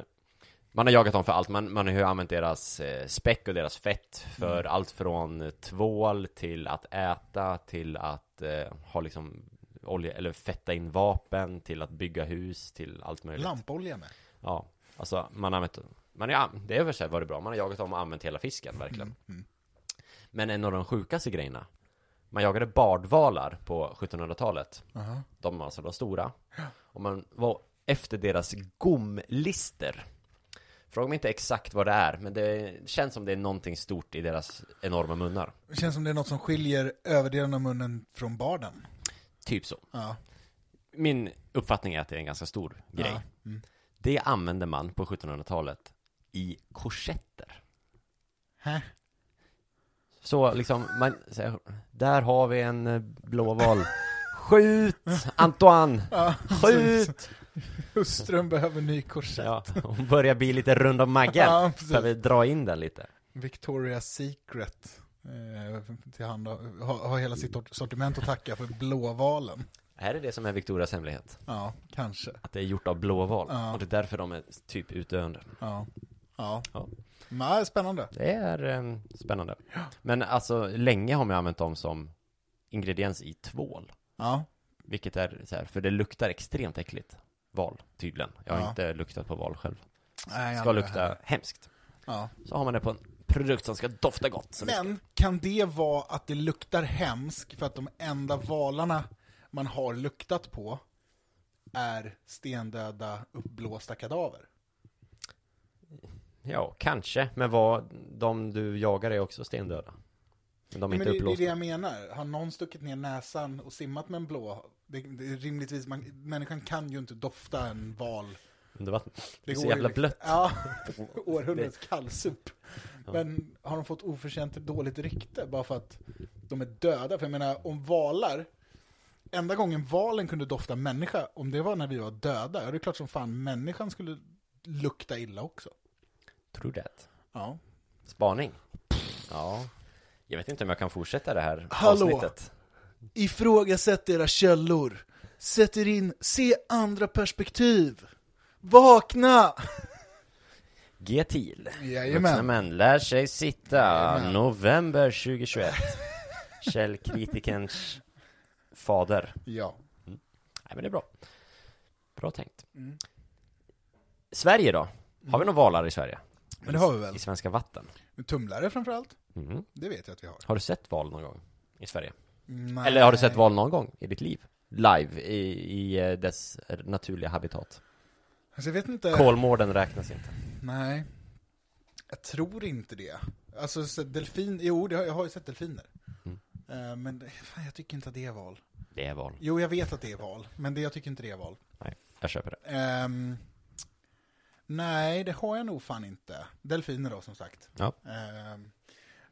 B: man har jagat dem för allt, man, man har ju använt deras eh, späck och deras fett för
C: Mm.
B: allt från eh, tvål till att äta, till att eh, ha liksom olja, eller fetta in vapen, till att bygga hus, till allt möjligt.
C: Lampolja med.
B: Ja, alltså man har använt, man har, ju an- det är väl så här var det bra, man har jagat dem och använt hela fisken verkligen.
C: Mm. Mm.
B: Men en av de sjukaste grejerna, man jagade bardvalar på 1700-talet.
C: Aha.
B: De var alltså de stora. Och man var efter deras gomlister. Fråga mig inte exakt vad det är, men det känns som det är någonting stort i deras enorma munnar.
C: Det känns som det är något som skiljer överdelen av munnen från barden.
B: Typ så.
C: Ja.
B: Min uppfattning är att det är en ganska stor grej.
C: Ja. Mm.
B: Det använde man på 1700-talet i korsetter.
C: Hä?
B: Så liksom, man, så här, där har vi en eh, blåval. Skjut Antoine!
C: Ja,
B: Skjut!
C: Hustrun behöver ny korsett.
B: Ja, hon börjar bli lite rund om maggen.
C: Ja, precis.
B: Behöver dra in den lite.
C: Victoria's Secret. Eh, till hand, har, har hela sitt sort- sortiment att tacka för blåvalen.
B: Här är det som är Victorias hemlighet.
C: Ja, kanske.
B: Att det är gjort av blåval.
C: Ja.
B: Och det är därför de är typ utdöende.
C: Ja. Ja.
B: Ja.
C: Nej, spännande.
B: Det är eh, spännande. Men alltså, länge har man använt dem som ingrediens i tvål.
C: Ja.
B: Vilket är så här, för det luktar extremt äckligt. Val, tydligen. Jag har
C: Ja.
B: inte luktat på val själv.
C: Nej,
B: Ska
C: jag-
B: lukta hemskt.
C: Ja.
B: Så har man det på en produkt som ska dofta gott. Så mycket.
C: Men kan det vara att det luktar hemskt för att de enda valarna man har luktat på är stendöda, uppblåsta kadaver.
B: Ja, kanske. Men vad, de du jagar är också stendöda. Men de
C: Nej,
B: är
C: men
B: inte
C: det, det är
B: uppblåsta.
C: det jag menar. Har någon stuckit ner näsan och simmat med en blå? Det, det är rimligtvis, man, människan kan ju inte dofta en val.
B: Under vattnet. Det är så
C: går ju
B: jävla
C: liksom-
B: blött.
C: Ja, århundradets kallsup. Men har de fått oförtjänt dåligt rykte bara för att de är döda? För jag menar, om valar, enda gången valen kunde dofta människa, om det var när vi var döda, ja, det är klart som fan människan skulle lukta illa också.
B: True that.
C: Ja.
B: Spaning. Ja. Jag vet inte om jag kan fortsätta det här
C: Hallå.
B: avsnittet.
C: Ifrågasätt era källor. Sätt er in, se andra perspektiv. Vakna!
B: G-TIL. Vuxna
C: Jajamän.
B: män lär sig sitta.
C: Jajamän.
B: November 2021. Källkritikerns fader.
C: Ja.
B: Nej men det är bra. Bra tänkt.
C: Mm.
B: Sverige då? Har vi några valar i Sverige?
C: Men det har vi väl.
B: I svenska vatten?
C: Tumlare framförallt,
B: Mhm.
C: det vet jag att vi har.
B: Har du sett val någon gång i Sverige?
C: Nej.
B: Eller har du sett val någon gång i ditt liv? Live i, i eh, dess naturliga habitat.
C: Alltså, jag vet inte.
B: Kolmården räknas inte.
C: Nej. Jag tror inte det. Alltså så delfin, jo det har, jag har ju sett delfiner.
B: Mm.
C: Eh, Men det- fan, jag tycker inte att det är val.
B: Det är val.
C: Jo, jag vet att det är val, men det, jag tycker inte det är val.
B: Nej, jag köper det.
C: Ehm, nej, det har jag nog fan inte. Delfiner då, som sagt.
B: Ja.
C: Ehm,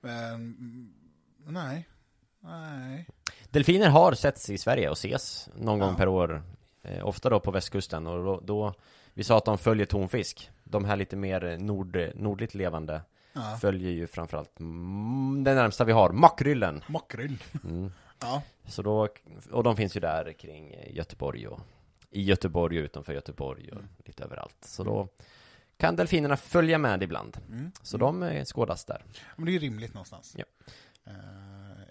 C: men, mm, nej. Nej.
B: Delfiner har setts i Sverige och ses någon gång
C: Ja.
B: per år. Eh, ofta då på västkusten och då, då vi sa att de följer tonfisk. De här lite mer nord, nordligt levande
C: Ja.
B: följer ju framförallt mm, den närmsta vi har, makryllen.
C: Makrill.
B: Mm.
C: Ja.
B: Så då, och de finns ju där kring eh, Göteborg och i Göteborg och utanför Göteborg och
C: Mm.
B: lite överallt. Så då kan delfinerna följa med ibland.
C: Mm.
B: Så de eh, skådas där.
C: Men det är ju rimligt någonstans.
B: Ja.
C: Ehm,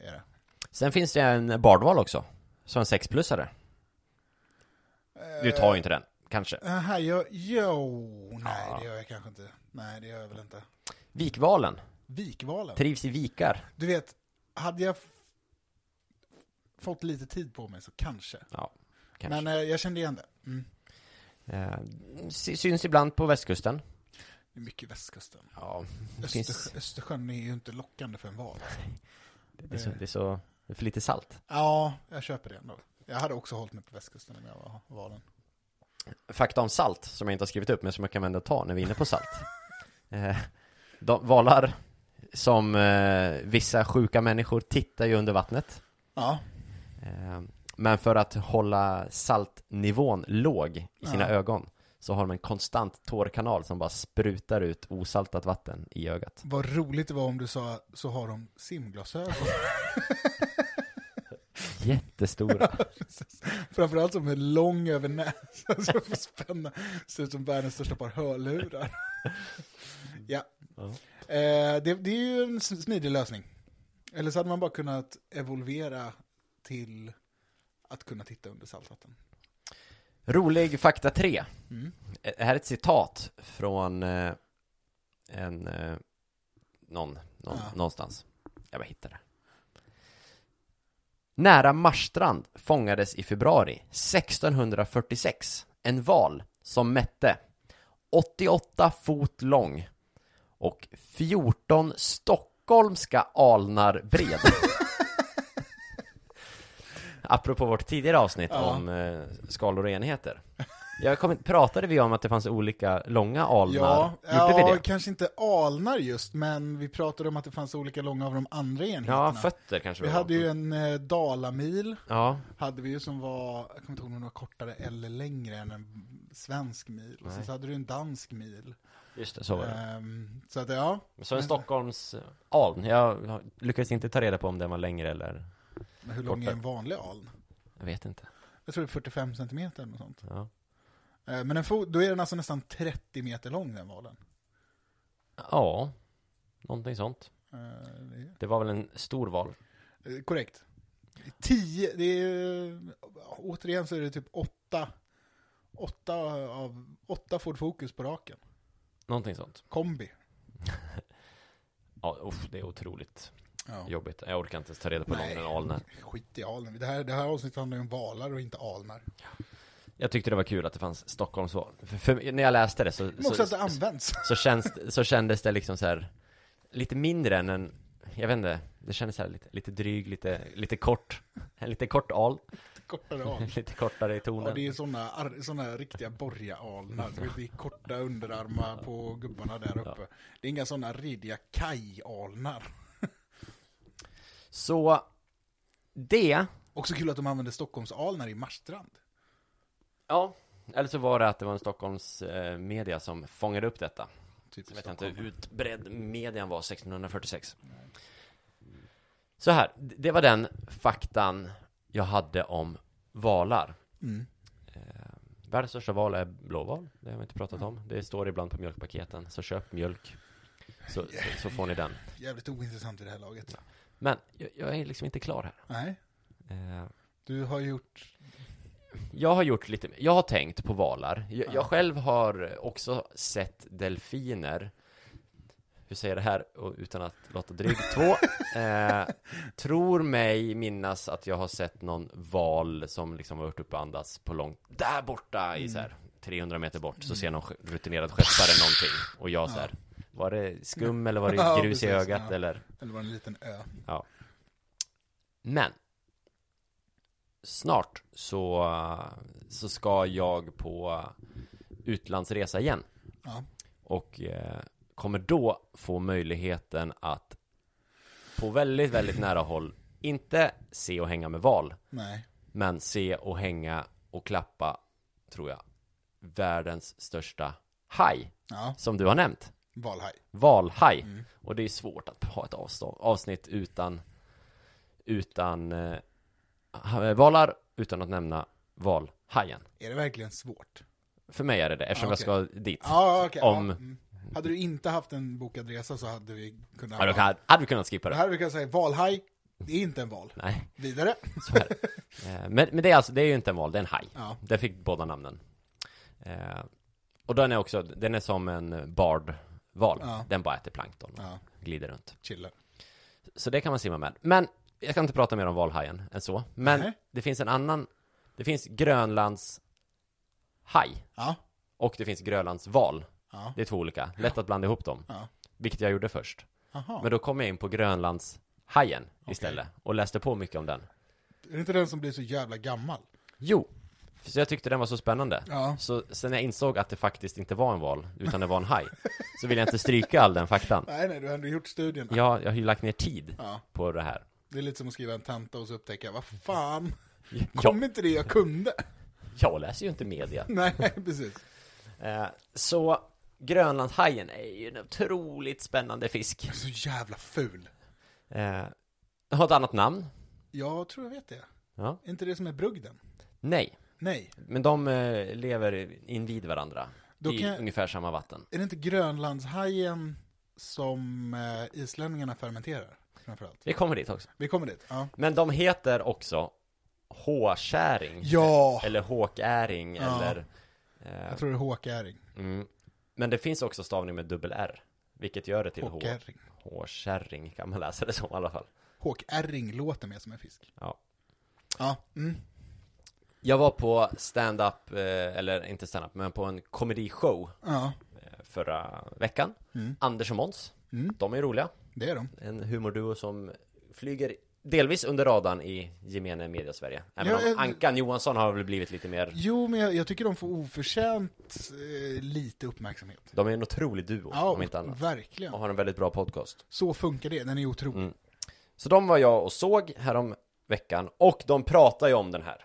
C: är det.
B: Sen finns det en bardval också. Så en sexplussare. Du tar ju inte den, kanske.
C: Aha, jag, Eh, jo, nej
B: Ja.
C: det gör jag kanske inte. Nej det gör jag väl inte.
B: Vikvalen.
C: Vikvalen.
B: Trivs i vikar.
C: Du vet, hade jag f- fått lite tid på mig så kanske.
B: Ja, kanske.
C: Men eh, jag kände igen det. Mm.
B: Eh, sy- syns ibland på västkusten.
C: Det är mycket västkusten.
B: Ja, det, finns,
C: Öster, Östersjön är ju inte lockande för en val.
B: det, är så, det är så... Det är för lite salt.
C: Ja, jag köper det ändå. Jag hade också hållit mig på västkusten om jag var valen.
B: Fakta om salt, som jag inte har skrivit upp, men som jag kan vända och ta när vi är inne på salt. eh, de, valar, som eh, vissa sjuka människor, tittar ju under vattnet.
C: Ja,
B: Eh, men för att hålla saltnivån låg i sina
C: Ja.
B: ögon så har de en konstant tårkanal som bara sprutar ut osaltat vatten i ögat.
C: vad roligt det var om du sa så har de simglasögon.
B: Jättestora.
C: Framförallt som är lång över näsan så jag får spänna. Ser ut som världens största par hörlurar. ja.
B: Ja.
C: Eh, det, det är ju en s- smidig lösning. Eller så hade man bara kunnat evolvera till att kunna titta under saltvatten.
B: Rolig fakta 3.
C: Mm.
B: Eh, Här är ett citat från eh, en, eh, någon, någon
C: Ja.
B: någonstans. Jag bara hittade det. Nära Marstrand fångades i februari 1646 en val som mätte 88 fot lång och 14 stockholmska alnar bred. Apropå vårt tidigare avsnitt
C: Ja.
B: om eh, skalor och enheter. Jag kom, pratade vi om att det fanns olika långa alnar?
C: Ja,
B: Gjorde vi
C: ja
B: det?
C: kanske inte alnar just, men vi pratade om att det fanns olika långa av de andra
B: Ja,
C: enheterna.
B: fötter kanske
C: vi
B: det var.
C: hade ju en eh, dalamil,
B: Ja,
C: hade vi ju som var, jag kommer inte ihåg om den var kortare eller längre än en svensk mil. Och sen
B: Nej.
C: så hade du en dansk mil.
B: just det, så var det.
C: Ehm, så att ja,
B: Så en Stockholms eh, aln, jag lyckades inte ta reda på om den var längre eller,
C: men hur lång är
B: Kortare.
C: en vanlig aln?
B: jag vet inte.
C: Jag tror det är 45 centimeter eller något sånt.
B: Ja,
C: Eh, Men en fot, då är den alltså nästan 30 meter lång den valen.
B: ja någonting sånt.
C: Eh, det
B: Det var väl en stor val.
C: är- eh, Korrekt. 10, det är återigen så är det typ 8 åtta av åtta Ford Focus på raken.
B: Någonting sånt.
C: Kombi.
B: Ja, usch, det är otroligt
C: Ja.
B: jobbigt. Jag orkar inte ens ta reda på hur lång
C: Nej.
B: den alen är.
C: Skit i aln. Det här, det här avsnittet handlar ju om valar och inte alnar.
B: Jag tyckte det var kul att det fanns Stockholmsval. För, för, när jag läste det så,
C: Men också
B: så,
C: att det används.
B: så, känns, så kändes det liksom så här lite mindre än en, jag vet inte, det kändes så här lite, lite dryg, lite, lite kort, en lite kort al,
C: Kortare al.
B: lite kortare i
C: Ja,
B: tonen.
C: det är sådana, ar- såna riktiga borgaralnar. du vet, Det är korta underarmar på gubbarna där uppe. Det är inga sådana ridiga kajalnar.
B: Så det,
C: Också kul att de använder Stockholmsalnar i Marstrand.
B: ja, eller så var det att det var en Stockholms eh, media som fångade upp detta.
C: Typ
B: Jag vet inte
C: Stockholm.
B: hur utbredd median var 1646. Så här, d- det var den faktan jag hade om valar.
C: Mm.
B: Världens största val är blåval, det har vi inte pratat om. Det står ibland på mjölkpaketen, så köp mjölk. Så, så, så får ni den.
C: Jävligt ointressant i det här laget.
B: Men jag, jag är liksom inte klar här.
C: Nej,
B: Eh,
C: du har gjort...
B: Jag har gjort lite, jag har tänkt på valar. Jag,
C: Ja.
B: jag själv har också sett delfiner. Hur säger jag det här Och utan att låta dryg? Två. Eh, tror mig minnas att jag har sett någon val som liksom har varit uppe och andats på långt, där borta
C: Mm.
B: i så här 300 meter bort så ser någon sk- rutinerad skeppare någonting och jag så här, var det skum eller var
C: Ja,
B: det grus i
C: precis,
B: ögat
C: ja.
B: eller?
C: Eller var det en liten ö?
B: Men snart så, så ska jag på utlandsresa igen
C: Ja.
B: och eh, kommer då få möjligheten att på väldigt, väldigt nära håll inte se och hänga med val,
C: Nej.
B: men se och hänga och klappa, tror jag, världens största haj
C: Ja,
B: som du har nämnt.
C: valhaj.
B: Valhaj.
C: Mm.
B: Och det är svårt att ha ett avstånd, avsnitt utan utan eh, ha- eh, valar utan att nämna valhajen.
C: Är det verkligen svårt?
B: För mig är det det, eftersom
C: Ah,
B: jag ska dit.
C: Ja, okej.
B: Om-
C: Ja. Mm. Hade du inte haft en bokad resa så hade vi kunnat...
B: Ja, då kan, hade vi kunnat skippa
C: Det
B: det.
C: här brukar jag säga, valhaj, det är inte en val.
B: Nej,
C: Vidare.
B: så är det. Eh, men, men det är alltså, det är ju inte en val, det är en haj.
C: Ja.
B: Det fick båda namnen. Eh, och den är också, den är som en bardval.
C: Ja.
B: Den bara äter plankton och
C: Ja,
B: glider runt.
C: chilla.
B: Så det kan man simma med. Men jag ska inte prata mer om valhajen än så. Men
C: Nej.
B: det finns en annan, det finns Grönlands haj
C: Ja,
B: och det finns Grönlands val.
C: ja,
B: Det är två olika, lätt att blanda ihop dem.
C: Ja.
B: Vilket jag gjorde först.
C: aha.
B: Men då kom jag in på Grönlands hajen istället och läste på mycket om den.
C: Är det inte den som blir så jävla gammal?
B: Jo, så jag tyckte den var så spännande.
C: Ja.
B: Så sen jag insåg att det faktiskt inte var en val, utan det var en haj, så ville jag inte stryka all den faktan.
C: Nej, nej, du har ändå gjort studien.
B: Jag, jag har ju lagt ner tid
C: Ja.
B: på det här.
C: Det är lite som att skriva en tenta och så upptäcka, vad fan,
B: Jag,
C: kom inte det jag kunde?
B: jag läser ju inte media.
C: Nej, precis.
B: Eh, Så Grönlandshajen är ju en otroligt spännande fisk.
C: Så jävla ful.
B: Eh, Den har ett annat namn.
C: Jag tror jag vet det.
B: Ja.
C: Är inte det som är brugden?
B: Nej,
C: Nej.
B: men de eh, lever invid varandra
C: Då
B: i
C: kan jag-
B: ungefär samma vatten.
C: Är det inte grönlandshajen som eh, islänningarna fermenterar? Framförallt.
B: Vi kommer dit också.
C: Vi kommer dit. Ja.
B: Men de heter också hårkäring.
C: Ja!
B: Eller håkäring
C: Ja.
B: eller...
C: Jag
B: Eh,
C: tror det är håkäring.
B: mm. Men det finns också stavning med dubbel R. Vilket gör det till H.
C: Håkäring.
B: Hårkärring kan man läsa det som i alla fall.
C: Håkäring låter mer som en fisk.
B: Ja.
C: Ja. Mm.
B: Jag var på stand-up, eh, eller inte stand-up, men på en komedishow
C: Ja.
B: eh, förra veckan.
C: Mm.
B: Anders och Måns,
C: Mm.
B: de är roliga.
C: Det är de.
B: En humorduo som flyger delvis under radarn i gemene media Sverige. Även
C: Ja,
B: om
C: jag-
B: Ankan Johansson har väl blivit lite mer,
C: Jo, men jag, jag tycker de får oförtjänt eh, lite uppmärksamhet.
B: de är en otrolig duo om inte annat.
C: verkligen.
B: Och har en väldigt bra podcast.
C: Så funkar det, den är otrolig.
B: Mm. Så de var jag och såg härom veckan och de pratar ju om den här.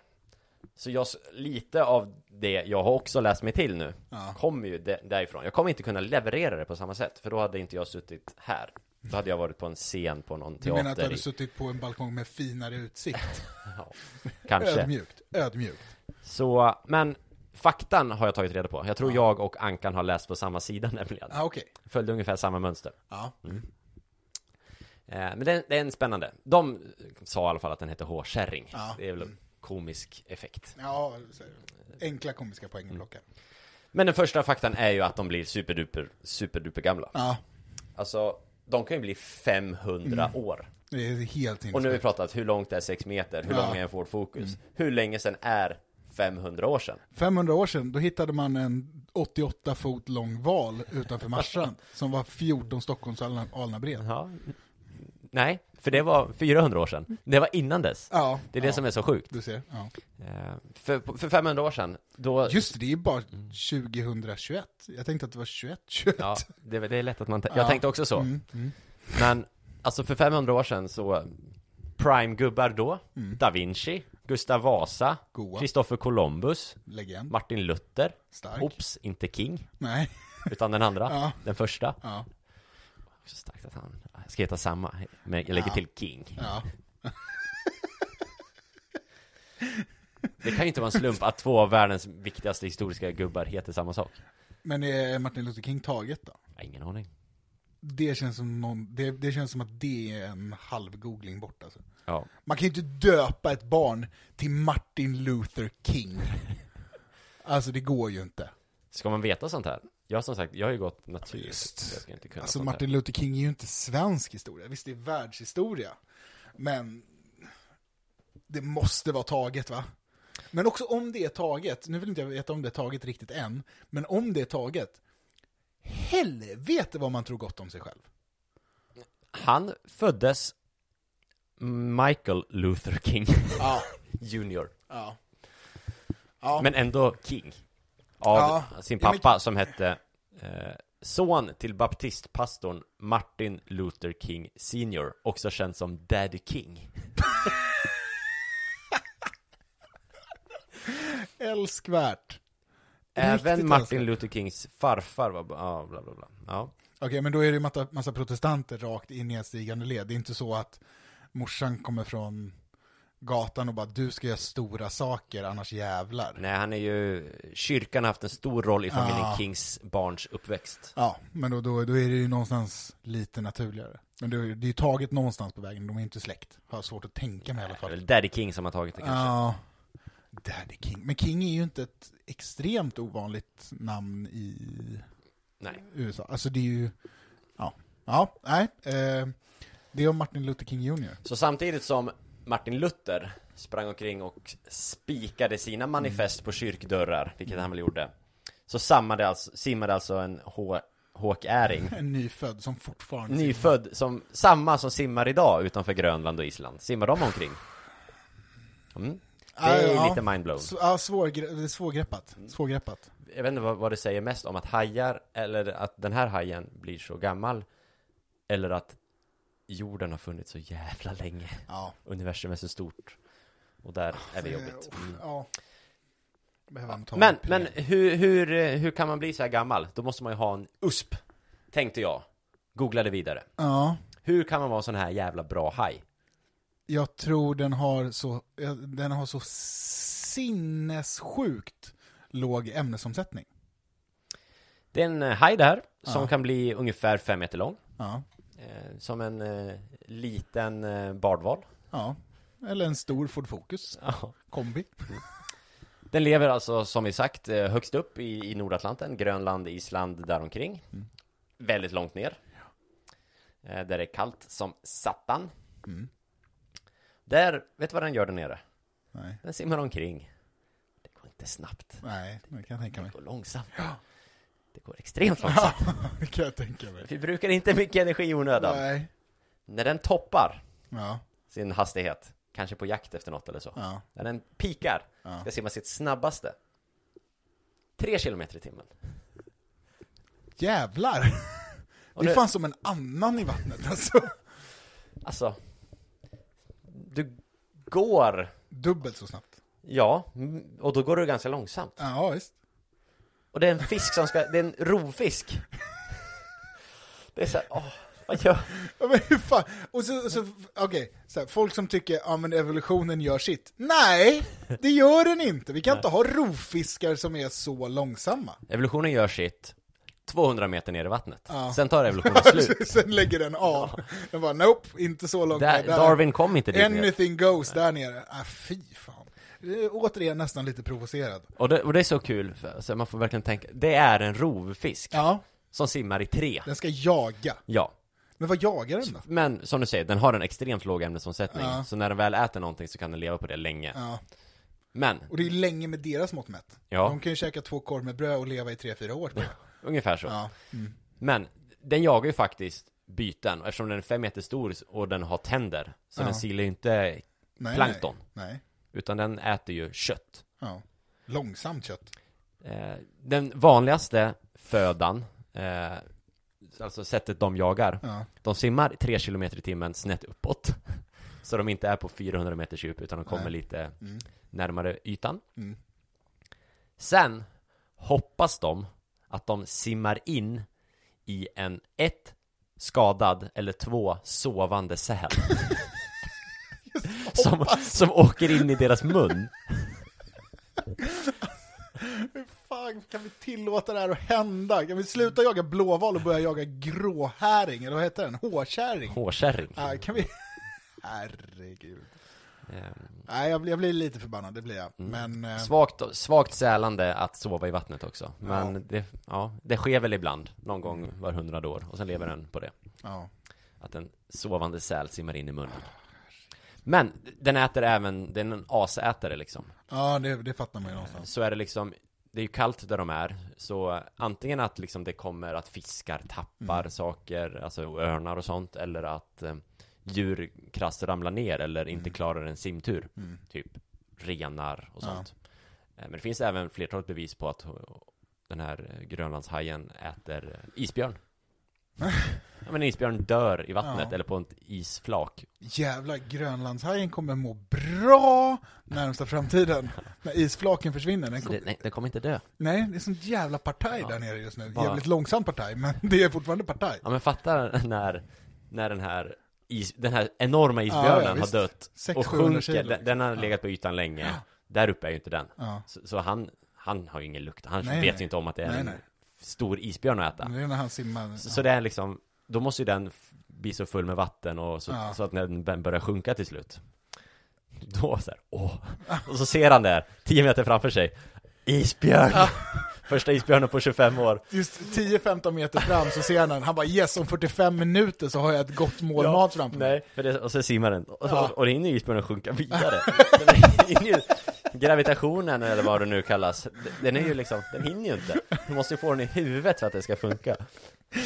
B: Så jag, s- lite av det jag har också läst mig till nu
C: Ja.
B: kommer ju de- därifrån. Jag kommer inte kunna leverera det på samma sätt, för då hade inte jag suttit här. Då hade jag varit på en scen på någon
C: Du menar att du
B: teater.
C: hade
B: I,
C: suttit på en balkong med finare utsikt?
B: ja, kanske.
C: Ödmjukt, ödmjukt.
B: Så, men faktan har jag tagit reda på. Jag tror jag och Ankan har läst på samma sida nämligen.
C: Ja, okej.
B: Följde ungefär samma mönster.
C: Ja.
B: Mm. Eh, men det, det är en spännande. De sa i alla fall att den heter hårkärring.
C: Ja.
B: Det är väl en komisk effekt.
C: ja, så är det. enkla komiska
B: Mm.
C: poängblockar.
B: Men den första faktan är ju att de blir superduper, superduper gamla.
C: Ja,
B: Alltså, de kan ju bli 500
C: Mm.
B: år.
C: det är helt
B: Och nu har vi
C: inne.
B: pratat, hur långt är 6 meter? Hur
C: Ja. Mm.
B: lång är en Ford Focus? Hur länge sedan är 500 år sedan.
C: 500 år sedan, då hittade man en 88 fot lång val utanför Marstrand som var 14 Stockholmsalnar bred.
B: Ja. Nej, för det var 400 år sedan. Det var innan dess.
C: Ja,
B: Det är det
C: ja,
B: som är så sjukt.
C: Du ser. Ja.
B: Eh, För, för 500 år sedan, då...
C: Just det, det är ju bara 2021. Jag tänkte att det var 21, 21.
B: Mm. Ja, det, är- det är lätt att man... T-
C: Ja.
B: Jag tänkte också så.
C: Mm, mm.
B: Men, alltså för 500 år sedan så... Prime-gubbar då? Da Vinci? Gustav Vasa?
C: Mm. Goa.
B: Kristoffer Columbus?
C: Legend.
B: Martin Luther?
C: Stark.
B: Ops, inte King,
C: Nej.
B: utan den andra.
C: Ja.
B: Den första.
C: Ja.
B: Så starkt att han ska heta samma, men jag lägger
C: Ja.
B: till King.
C: ja.
B: Det kan ju inte vara en slump att två av världens viktigaste historiska gubbar heter samma sak.
C: Men är Martin Luther King taget då?
B: Jag har ingen aning.
C: Det känns som, någon, det, det känns som att det är en halv googling bort alltså.
B: Ja.
C: Man kan ju inte döpa ett barn till Martin Luther King. Alltså det går ju inte.
B: Ska man veta sånt här? Jag har som sagt, jag har ju gått natur.
C: Just.
B: så Jag ska inte kunna
C: Alltså
B: sånt här.
C: Martin Luther King är ju inte svensk historia, visst det är världshistoria. Men det måste vara taget va? Men också om det är taget, nu vill inte jag veta om det är taget riktigt än, men om det är taget, helvete vad man tror gott om sig själv.
B: Han föddes Michael Luther King
C: Ja,
B: Junior.
C: ja. Ja,
B: Men ändå King. Av
C: Ja.
B: sin
C: Ja, men-
B: pappa som hette eh, son till baptistpastorn Martin Luther King Senior. Också känd som Daddy King.
C: älskvärt. Riktigt
B: Även
C: älskvärt.
B: Martin Luther Kings farfar var, ja, bla bla bla. Ja.
C: Okej, men då är det ju massa, massa protestanter rakt in i en stigande led. Det är inte så att morsan kommer från gatan och bara du ska göra stora saker, annars jävlar.
B: Nej, han är ju, kyrkan har haft en stor roll i familjen
C: Ja.
B: Kings barns uppväxt.
C: Ja, men då, då, då är det ju någonstans lite naturligare. Men det, är ju- det är ju taget någonstans på vägen, de är inte släkt. Har jag svårt att tänka mig i alla
B: Det är
C: fall.
B: väl Daddy King som har tagit det kanske.
C: Ja, Daddy King. Men King är ju inte ett extremt ovanligt namn i
B: Nej.
C: USA. Alltså det är ju, ja, ja nej. Eh, det är om Martin Luther King Jr.
B: Så samtidigt som Martin Luther sprang omkring och spikade
C: Mm.
B: sina manifest på kyrkdörrar, vilket han väl gjorde, så sammade alltså, simmade alltså en hå- håkäring,
C: En nyfödd som fortfarande...
B: nyfödd, som, samma som simmar idag utanför Grönland och Island, simmar de omkring? Mm. Det
C: Ja,
B: är
C: ja.
B: lite Mm. mindblown.
C: S- Ja, svårgre- det är svårgreppat. Svårgreppat.
B: Jag vet inte vad, vad det säger mest om att hajar, eller att den här hajen blir så gammal, eller att jorden har funnits så jävla länge.
C: Ja.
B: Universum är så stort. Och där är det jobbigt.
C: Eh, uff, Ja. Behöver man ta
B: Men,
C: en
B: men hur, hur, eh, hur kan man bli så här gammal? Då måste man ju ha en USP, tänkte jag. Googlade vidare.
C: Ja,
B: Hur kan man vara en sån här jävla bra haj?
C: jag tror den har så, eh, den har så sinnessjukt låg ämnesomsättning.
B: Det är en eh, haj där, som
C: Ja.
B: kan bli ungefär fem meter lång.
C: Ja.
B: Eh, som en eh, liten eh, bardval.
C: ja. Eller en stor Ford Focus kombi.
B: Mm. Den lever alltså, som vi sagt, eh, högst upp i, i Nordatlanten, Grönland, Island, däromkring.
C: Mm.
B: Väldigt långt ner. Eh, Där det är kallt som satan.
C: Mm.
B: Där, vet du vad den gör där nere?
C: Nej,
B: Den simmar omkring. Det går inte snabbt.
C: nej, det kan jag tänka
B: Det
C: mig.
B: går långsamt. Det går extremt långsamt.
C: Det kan jag tänka mig.
B: Vi brukar inte mycket energi i onödan.
C: Nej.
B: När den toppar
C: Ja,
B: sin hastighet, kanske på jakt efter något eller så.
C: ja.
B: När den pikar,
C: Ja.
B: ska simma sitt snabbaste. Tre kilometer i timmen.
C: Jävlar!
B: Och
C: Det
B: nu-
C: är fan som en annan i vattnet alltså.
B: Alltså, du går,
C: Dubbelt så snabbt.
B: ja, m- och då går du ganska långsamt.
C: Ja, visst.
B: Och det är en fisk som ska, det är en rovfisk. Det är så här, åh, vad gör,
C: Ja, men hur fan? Och så, och så okej, så här, folk som tycker ja men evolutionen gör sitt. Nej, det gör den inte. Vi kan inte ha rovfiskar som är så långsamma.
B: Evolutionen gör sitt 200 meter ner i vattnet.
C: Ja.
B: Sen tar evolutionen slut.
C: Sen lägger den av. Den bara nope, inte så långt
B: Där,
C: ner. Typ. Där.
B: Darwin kom inte dit ner.
C: Anything goes där nere. Ah, fy fan. Det är Återigen nästan lite provocerad.
B: Och det, och det är så kul, för, så man får verkligen tänka, det är en rovfisk
C: Ja,
B: som simmar i tre.
C: den ska jaga.
B: Ja.
C: Men vad jagar den då?
B: Men som du säger, den har en extremt låg ämnesomsättning.
C: Ja.
B: Så när den väl äter någonting så kan den leva på det länge.
C: Ja.
B: Men,
C: Och det är länge med deras mått mätt.
B: Ja.
C: De kan ju käka två korv med bröd och leva i tre, fyra år. tror jag.
B: ungefär så.
C: Ja. Mm.
B: Men den jagar ju faktiskt byten och eftersom den är fem meter stor och den har tänder. Så
C: Ja.
B: den silar ju inte
C: Nej,
B: plankton.
C: Nej. nej.
B: Utan den äter ju kött.
C: Ja. Långsamt kött.
B: Eh, den vanligaste födan, eh, alltså sättet de jagar,
C: Ja.
B: de simmar 3 km i timmen snett uppåt. Så de inte är på 400 meters djup utan de kommer
C: Nej.
B: lite
C: Mm.
B: närmare ytan.
C: Mm.
B: Sen hoppas de att de simmar in i en ett skadad eller två sovande säl. som, som åker in i deras mun.
C: Hur fan kan vi tillåta det här att hända? Kan vi sluta jaga blåval och börja jaga gråhäring? Eller vad heter den? Hårkärring?
B: Hårkärring.
C: Nej, kan vi... Herregud.
B: Ehm,
C: Nej, jag blir, jag blir lite förbannad, det blir jag.
B: Mm.
C: Men... eh,
B: Svagt, svagt sälande att sova i vattnet också. Men
C: Ja.
B: Det, ja, det sker väl ibland, någon gång var hundrade år. Och sen lever den på det.
C: Ja.
B: Att en sovande säl simmar in i munnen. Men den äter även, den är en asätare liksom.
C: Ja, det, det fattar man ju någonstans.
B: så är det liksom det är ju kallt där de är, så antingen att liksom det kommer att fiskar tappar saker, alltså örnar och sånt, eller att eh, djur krasst ramlar ner eller inte klarar en simtur.
C: Mm.
B: Typ renar och
C: Ja.
B: sånt. Eh, men det finns även flertalet bevis på att ho- den här eh, grönlandshajen äter eh, isbjörn. ja men en isbjörn dör i vattnet
C: Ja.
B: eller på ett isflak.
C: Jävla grönlandshajen kommer må bra närmsta framtiden. När isflaken försvinner. Den
B: Så
C: kom...
B: det, nej, den kommer inte dö.
C: Nej, det är sånt jävla partaj
B: Ja.
C: där nere just nu.
B: Bara-
C: Jävligt långsamt partaj, men det är fortfarande partaj.
B: Ja men fatta när, när den här is, den här enorma isbjörnen
C: Ja, ja,
B: har
C: visst.
B: dött och
C: 600-700
B: sjunker,
C: kilo,
B: den, den har legat på ytan länge. Där uppe är ju inte den.
C: Ja.
B: Så, så han, han har ju ingen lukt, han
C: Nej,
B: vet
C: nej.
B: ju inte om att det är
C: Nej,
B: en
C: nej.
B: stor isbjörn att äta.
C: Det är när han simmar.
B: Så, så det är liksom, då måste ju den f- bli så full med vatten och så,
C: Ja.
B: så att när den börjar sjunka till slut. Då så här, åh. Och så ser han där, 10 meter framför sig, isbjörn! Första isbjörnen på 25 år.
C: Just 10-15 meter fram så ser han den. Han bara yes, om 45 minuter så har jag ett gott mål mat framför mig.
B: Nej, för det, och så simmar den. Och,
C: Ja.
B: och det hinner ju isbjörnen sjunka vidare. Den hinner ju, gravitationen eller vad det nu kallas, den är ju liksom, den hinner ju inte. Du måste ju få den i huvudet för att det ska funka.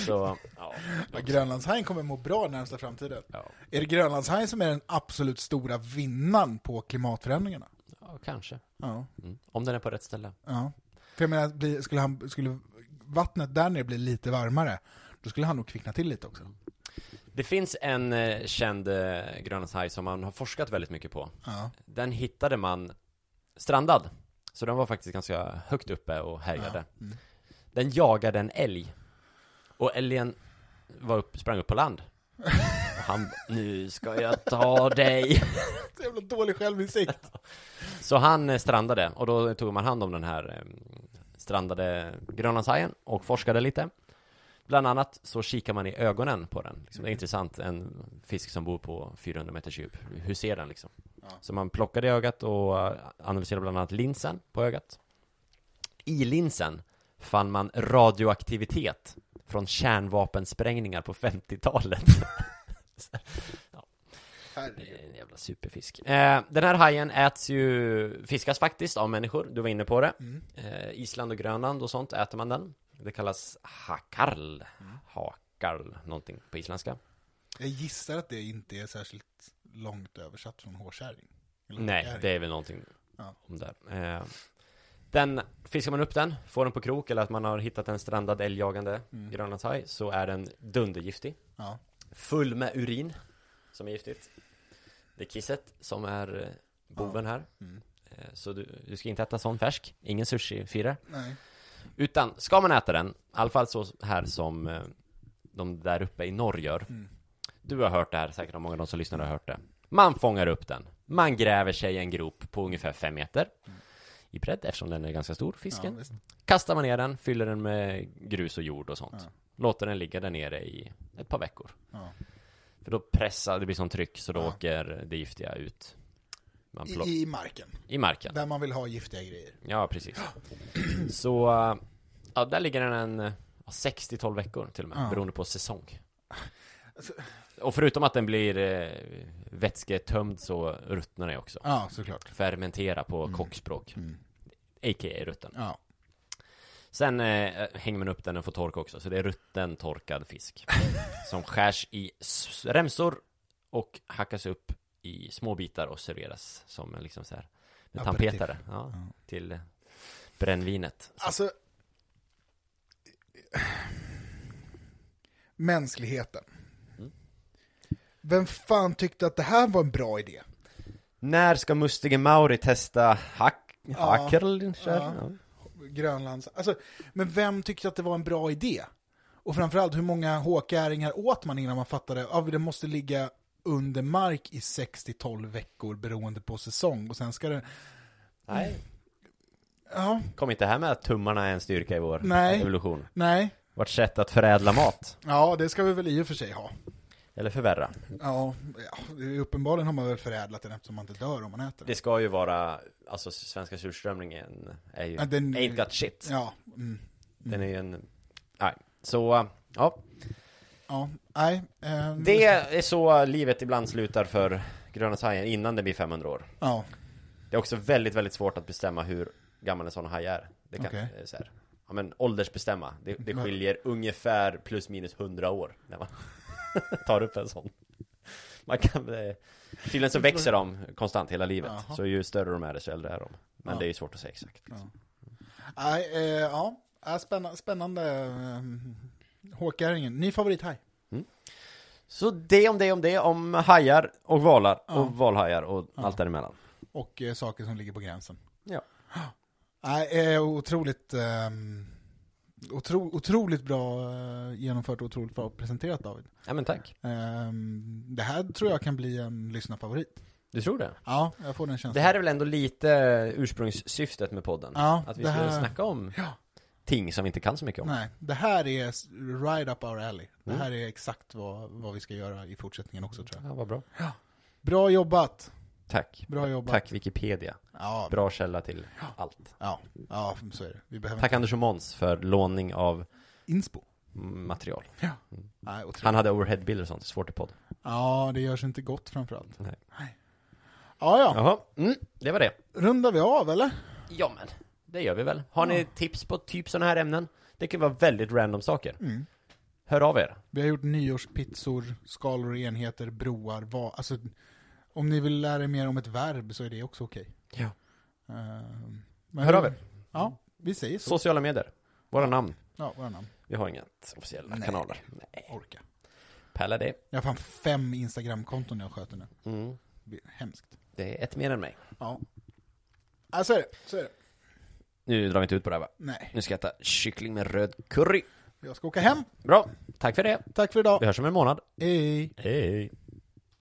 B: Så, ja.
C: Ja, Grönlandshajen kommer må bra närmsta framtiden.
B: Ja,
C: Är det Grönlandshajen som är den absolut stora vinnaren på klimatförändringarna?
B: ja kanske.
C: Ja.
B: Mm. Om den är på rätt ställe.
C: ja. För jag menar, bli- skulle, han, skulle vattnet där nere bli lite varmare, då skulle han nog kvickna till lite också.
B: Det finns en eh, känd eh, grönlandshaj som man har forskat väldigt mycket på.
C: Ja.
B: Den hittade man strandad. Så den var faktiskt ganska högt uppe och härjade.
C: Ja. Mm.
B: Den jagade en älg. Och älgen var upp, sprang upp på land. Och han nu ska jag ta dig.
C: Så jävla dålig självinsikt.
B: Så han eh, strandade och då tog man hand om den här eh, strandade grönlandshajen och forskade lite. Bland annat så kikar man i ögonen på den. Liksom, det är intressant, en fisk som bor på 400 meters djup. Hur ser den liksom?
C: Ja.
B: Så man plockade i ögat och eh, analyserade bland annat linsen på ögat. I linsen fann man radioaktivitet från kärnvapensprängningar på 50-talet. Det är En jävla superfisk. Eh, den här hajen äts ju, fiskas faktiskt av människor, du var inne på det.
C: Mm.
B: Eh, Island och Grönland och sånt äter man den. Det kallas hakarl.
C: Mm.
B: Hakarl, någonting på isländska.
C: Jag gissar att det inte är särskilt långt översatt från hårkärring. Eller
B: Nej,
C: hårkärring.
B: det är väl någonting
C: Ja.
B: om det. Eh, den, fiskar man upp den, får den på krok eller att man har hittat en strandad älgjagande
C: Mm.
B: grönlandshaj så är den dundergiftig.
C: Ja.
B: Full med urin, som är giftigt. Det är kisset som är eh, boven här.
C: Mm.
B: Eh, Så du, du ska inte äta sån färsk, ingen sushi-firare.
C: Nej.
B: Utan, ska man äta den, i alla fall så här som eh, de där uppe i norr gör.
C: Mm.
B: Du har hört det här, säkert många av de som lyssnar har hört det. Man fångar upp den. Man gräver sig i en grop på ungefär fem meter i bredd, eftersom den är ganska stor,
C: Ja,
B: fisken.
C: visst.
B: Kastar man ner den, fyller den med grus och jord och sånt.
C: Ja.
B: Låter den ligga där nere i ett par veckor.
C: ja.
B: För då pressar, det blir sån tryck, så då
C: Ja.
B: åker det giftiga ut. Man plock-
C: I, I marken,
B: I marken.
C: där man vill ha giftiga grejer.
B: Ja, precis. Så, äh, ja, där ligger den en äh, 6-12 veckor till och med,
C: Ja. Alltså-
B: beroende på säsong. Och förutom att den blir eh, vätsketömd så ruttnar den ju också.
C: Ja, såklart.
B: Fermentera på
C: Mm.
B: kockspråk,
C: Mm.
B: a.k.a. rutten.
C: Ja.
B: Sen eh, hänger man upp den och får torka också, så det är rutten torkad fisk. som skärs i s- remsor och hackas upp i små bitar och serveras som en liksom så här med
C: Aperitif.
B: tandpetare. Ja,
C: Ja.
B: till eh, brännvinet. Så,
C: Alltså... Mänskligheten.
B: Mm.
C: Vem fan tyckte att det här var en bra idé?
B: När ska Mustige Mauri testa hack, hackerl?
C: ja.
B: Ja.
C: Grönlands... Alltså, men vem tyckte att det var en bra idé? Och framförallt, hur många håkäringar åt man innan man fattade att ah, det måste ligga under mark i 6-12 veckor beroende på säsong och sen ska det...
B: Nej,
C: Ja,
B: kom inte här med att tummarna är en styrka i vår
C: Nej.
B: evolution.
C: nej.
B: Vårt sätt att förädla mat,
C: Ja, det ska vi väl i och för sig ha.
B: eller förvärra.
C: Ja, ja uppenbarligen har man väl förädlat den eftersom man inte dör om man äter
B: Det
C: den.
B: ska ju vara, alltså svenska surströmmingen är ju,
C: Ja, den-
B: ain't got shit.
C: Ja, mm,
B: Den är ju en, nej. Så, ja.
C: ja, nej. Eh,
B: Det är så livet ibland slutar för Gröna Hajen innan det blir 500 år.
C: Ja,
B: Det är också väldigt, väldigt svårt att bestämma hur gammal en sån haj är. Det kan,
C: Okej.
B: eh, så här, ja men åldersbestämma. Det, det skiljer ungefär plus minus 100 år när man tar upp en sån. Man kan, eh, tydligen så växer de konstant hela livet.
C: Jaha.
B: Så ju större de är, desto äldre är de. Men
C: Ja.
B: det är ju svårt att säga exakt.
C: nej, eh, ja. ja spännande. spännande eh, Håkäringen, ny favorithaj.
B: Så det om det om det, om hajar och valar
C: Ja.
B: och valhajar och allt däremellan.
C: Och eh, saker som ligger på gränsen.
B: Ja.
C: Nej, eh, otroligt, eh, otro, otroligt bra eh, genomfört och otroligt bra presenterat David.
B: ja, men tack.
C: Eh, det här tror jag kan bli en lyssnarfavorit.
B: Du tror det?
C: Ja, jag får den känslan.
B: Det här är väl ändå lite ursprungssyftet med podden?
C: Ja,
B: att vi
C: det
B: skulle
C: här-
B: snacka om
C: Ja.
B: ting som vi inte kan så mycket om.
C: Nej, det här är s- right up our alley. Det
B: Mm.
C: här är exakt vad, vad vi ska göra i fortsättningen också tror jag.
B: Ja, vad bra.
C: Bra jobbat!
B: Tack.
C: Bra jobbat.
B: Tack Wikipedia.
C: Ja,
B: Bra källa till allt.
C: ja, ja så är det. Vi behöver
B: Tack Anders och Måns för låning av
C: inspo.
B: mm, material.
C: Ja. Nej, otroligt.
B: Han hade overheadbilder och sånt, svårt i podd.
C: ja, det görs inte gott framförallt.
B: Nej.
C: Ja, ja.
B: Jaha, mm, det var det.
C: Rundar vi av eller?
B: Ja men, det gör vi väl. Har ni tips på typ sådana här ämnen? Det kan vara väldigt random saker.
C: Mm.
B: Hör av er.
C: Vi har gjort nyårspizzor, skalor och enheter, broar, vad, alltså om ni vill lära er mer om ett verb så är det också okej.
B: Ja.
C: Ehm, men-
B: Hör av er.
C: Ja, vi säger så.
B: Sociala medier. Våra namn.
C: Ja, våra namn.
B: Vi har inga officiella
C: Nej.
B: kanaler. Nej.
C: Orka.
B: Pärla det.
C: Jag har fan fem Instagram-konton jag sköter nu.
B: Mm.
C: Det är Hemskt.
B: Det är ett mer än mig.
C: Ja. Ja, så är det. Så är det.
B: Nu drar vi inte ut på det här va?
C: Nej,
B: Nu ska jag äta kyckling med röd curry.
C: jag ska åka hem.
B: Bra, tack för det.
C: Tack för
B: Vi
C: idag.
B: hörs om en månad.
C: Hej.
B: Hej.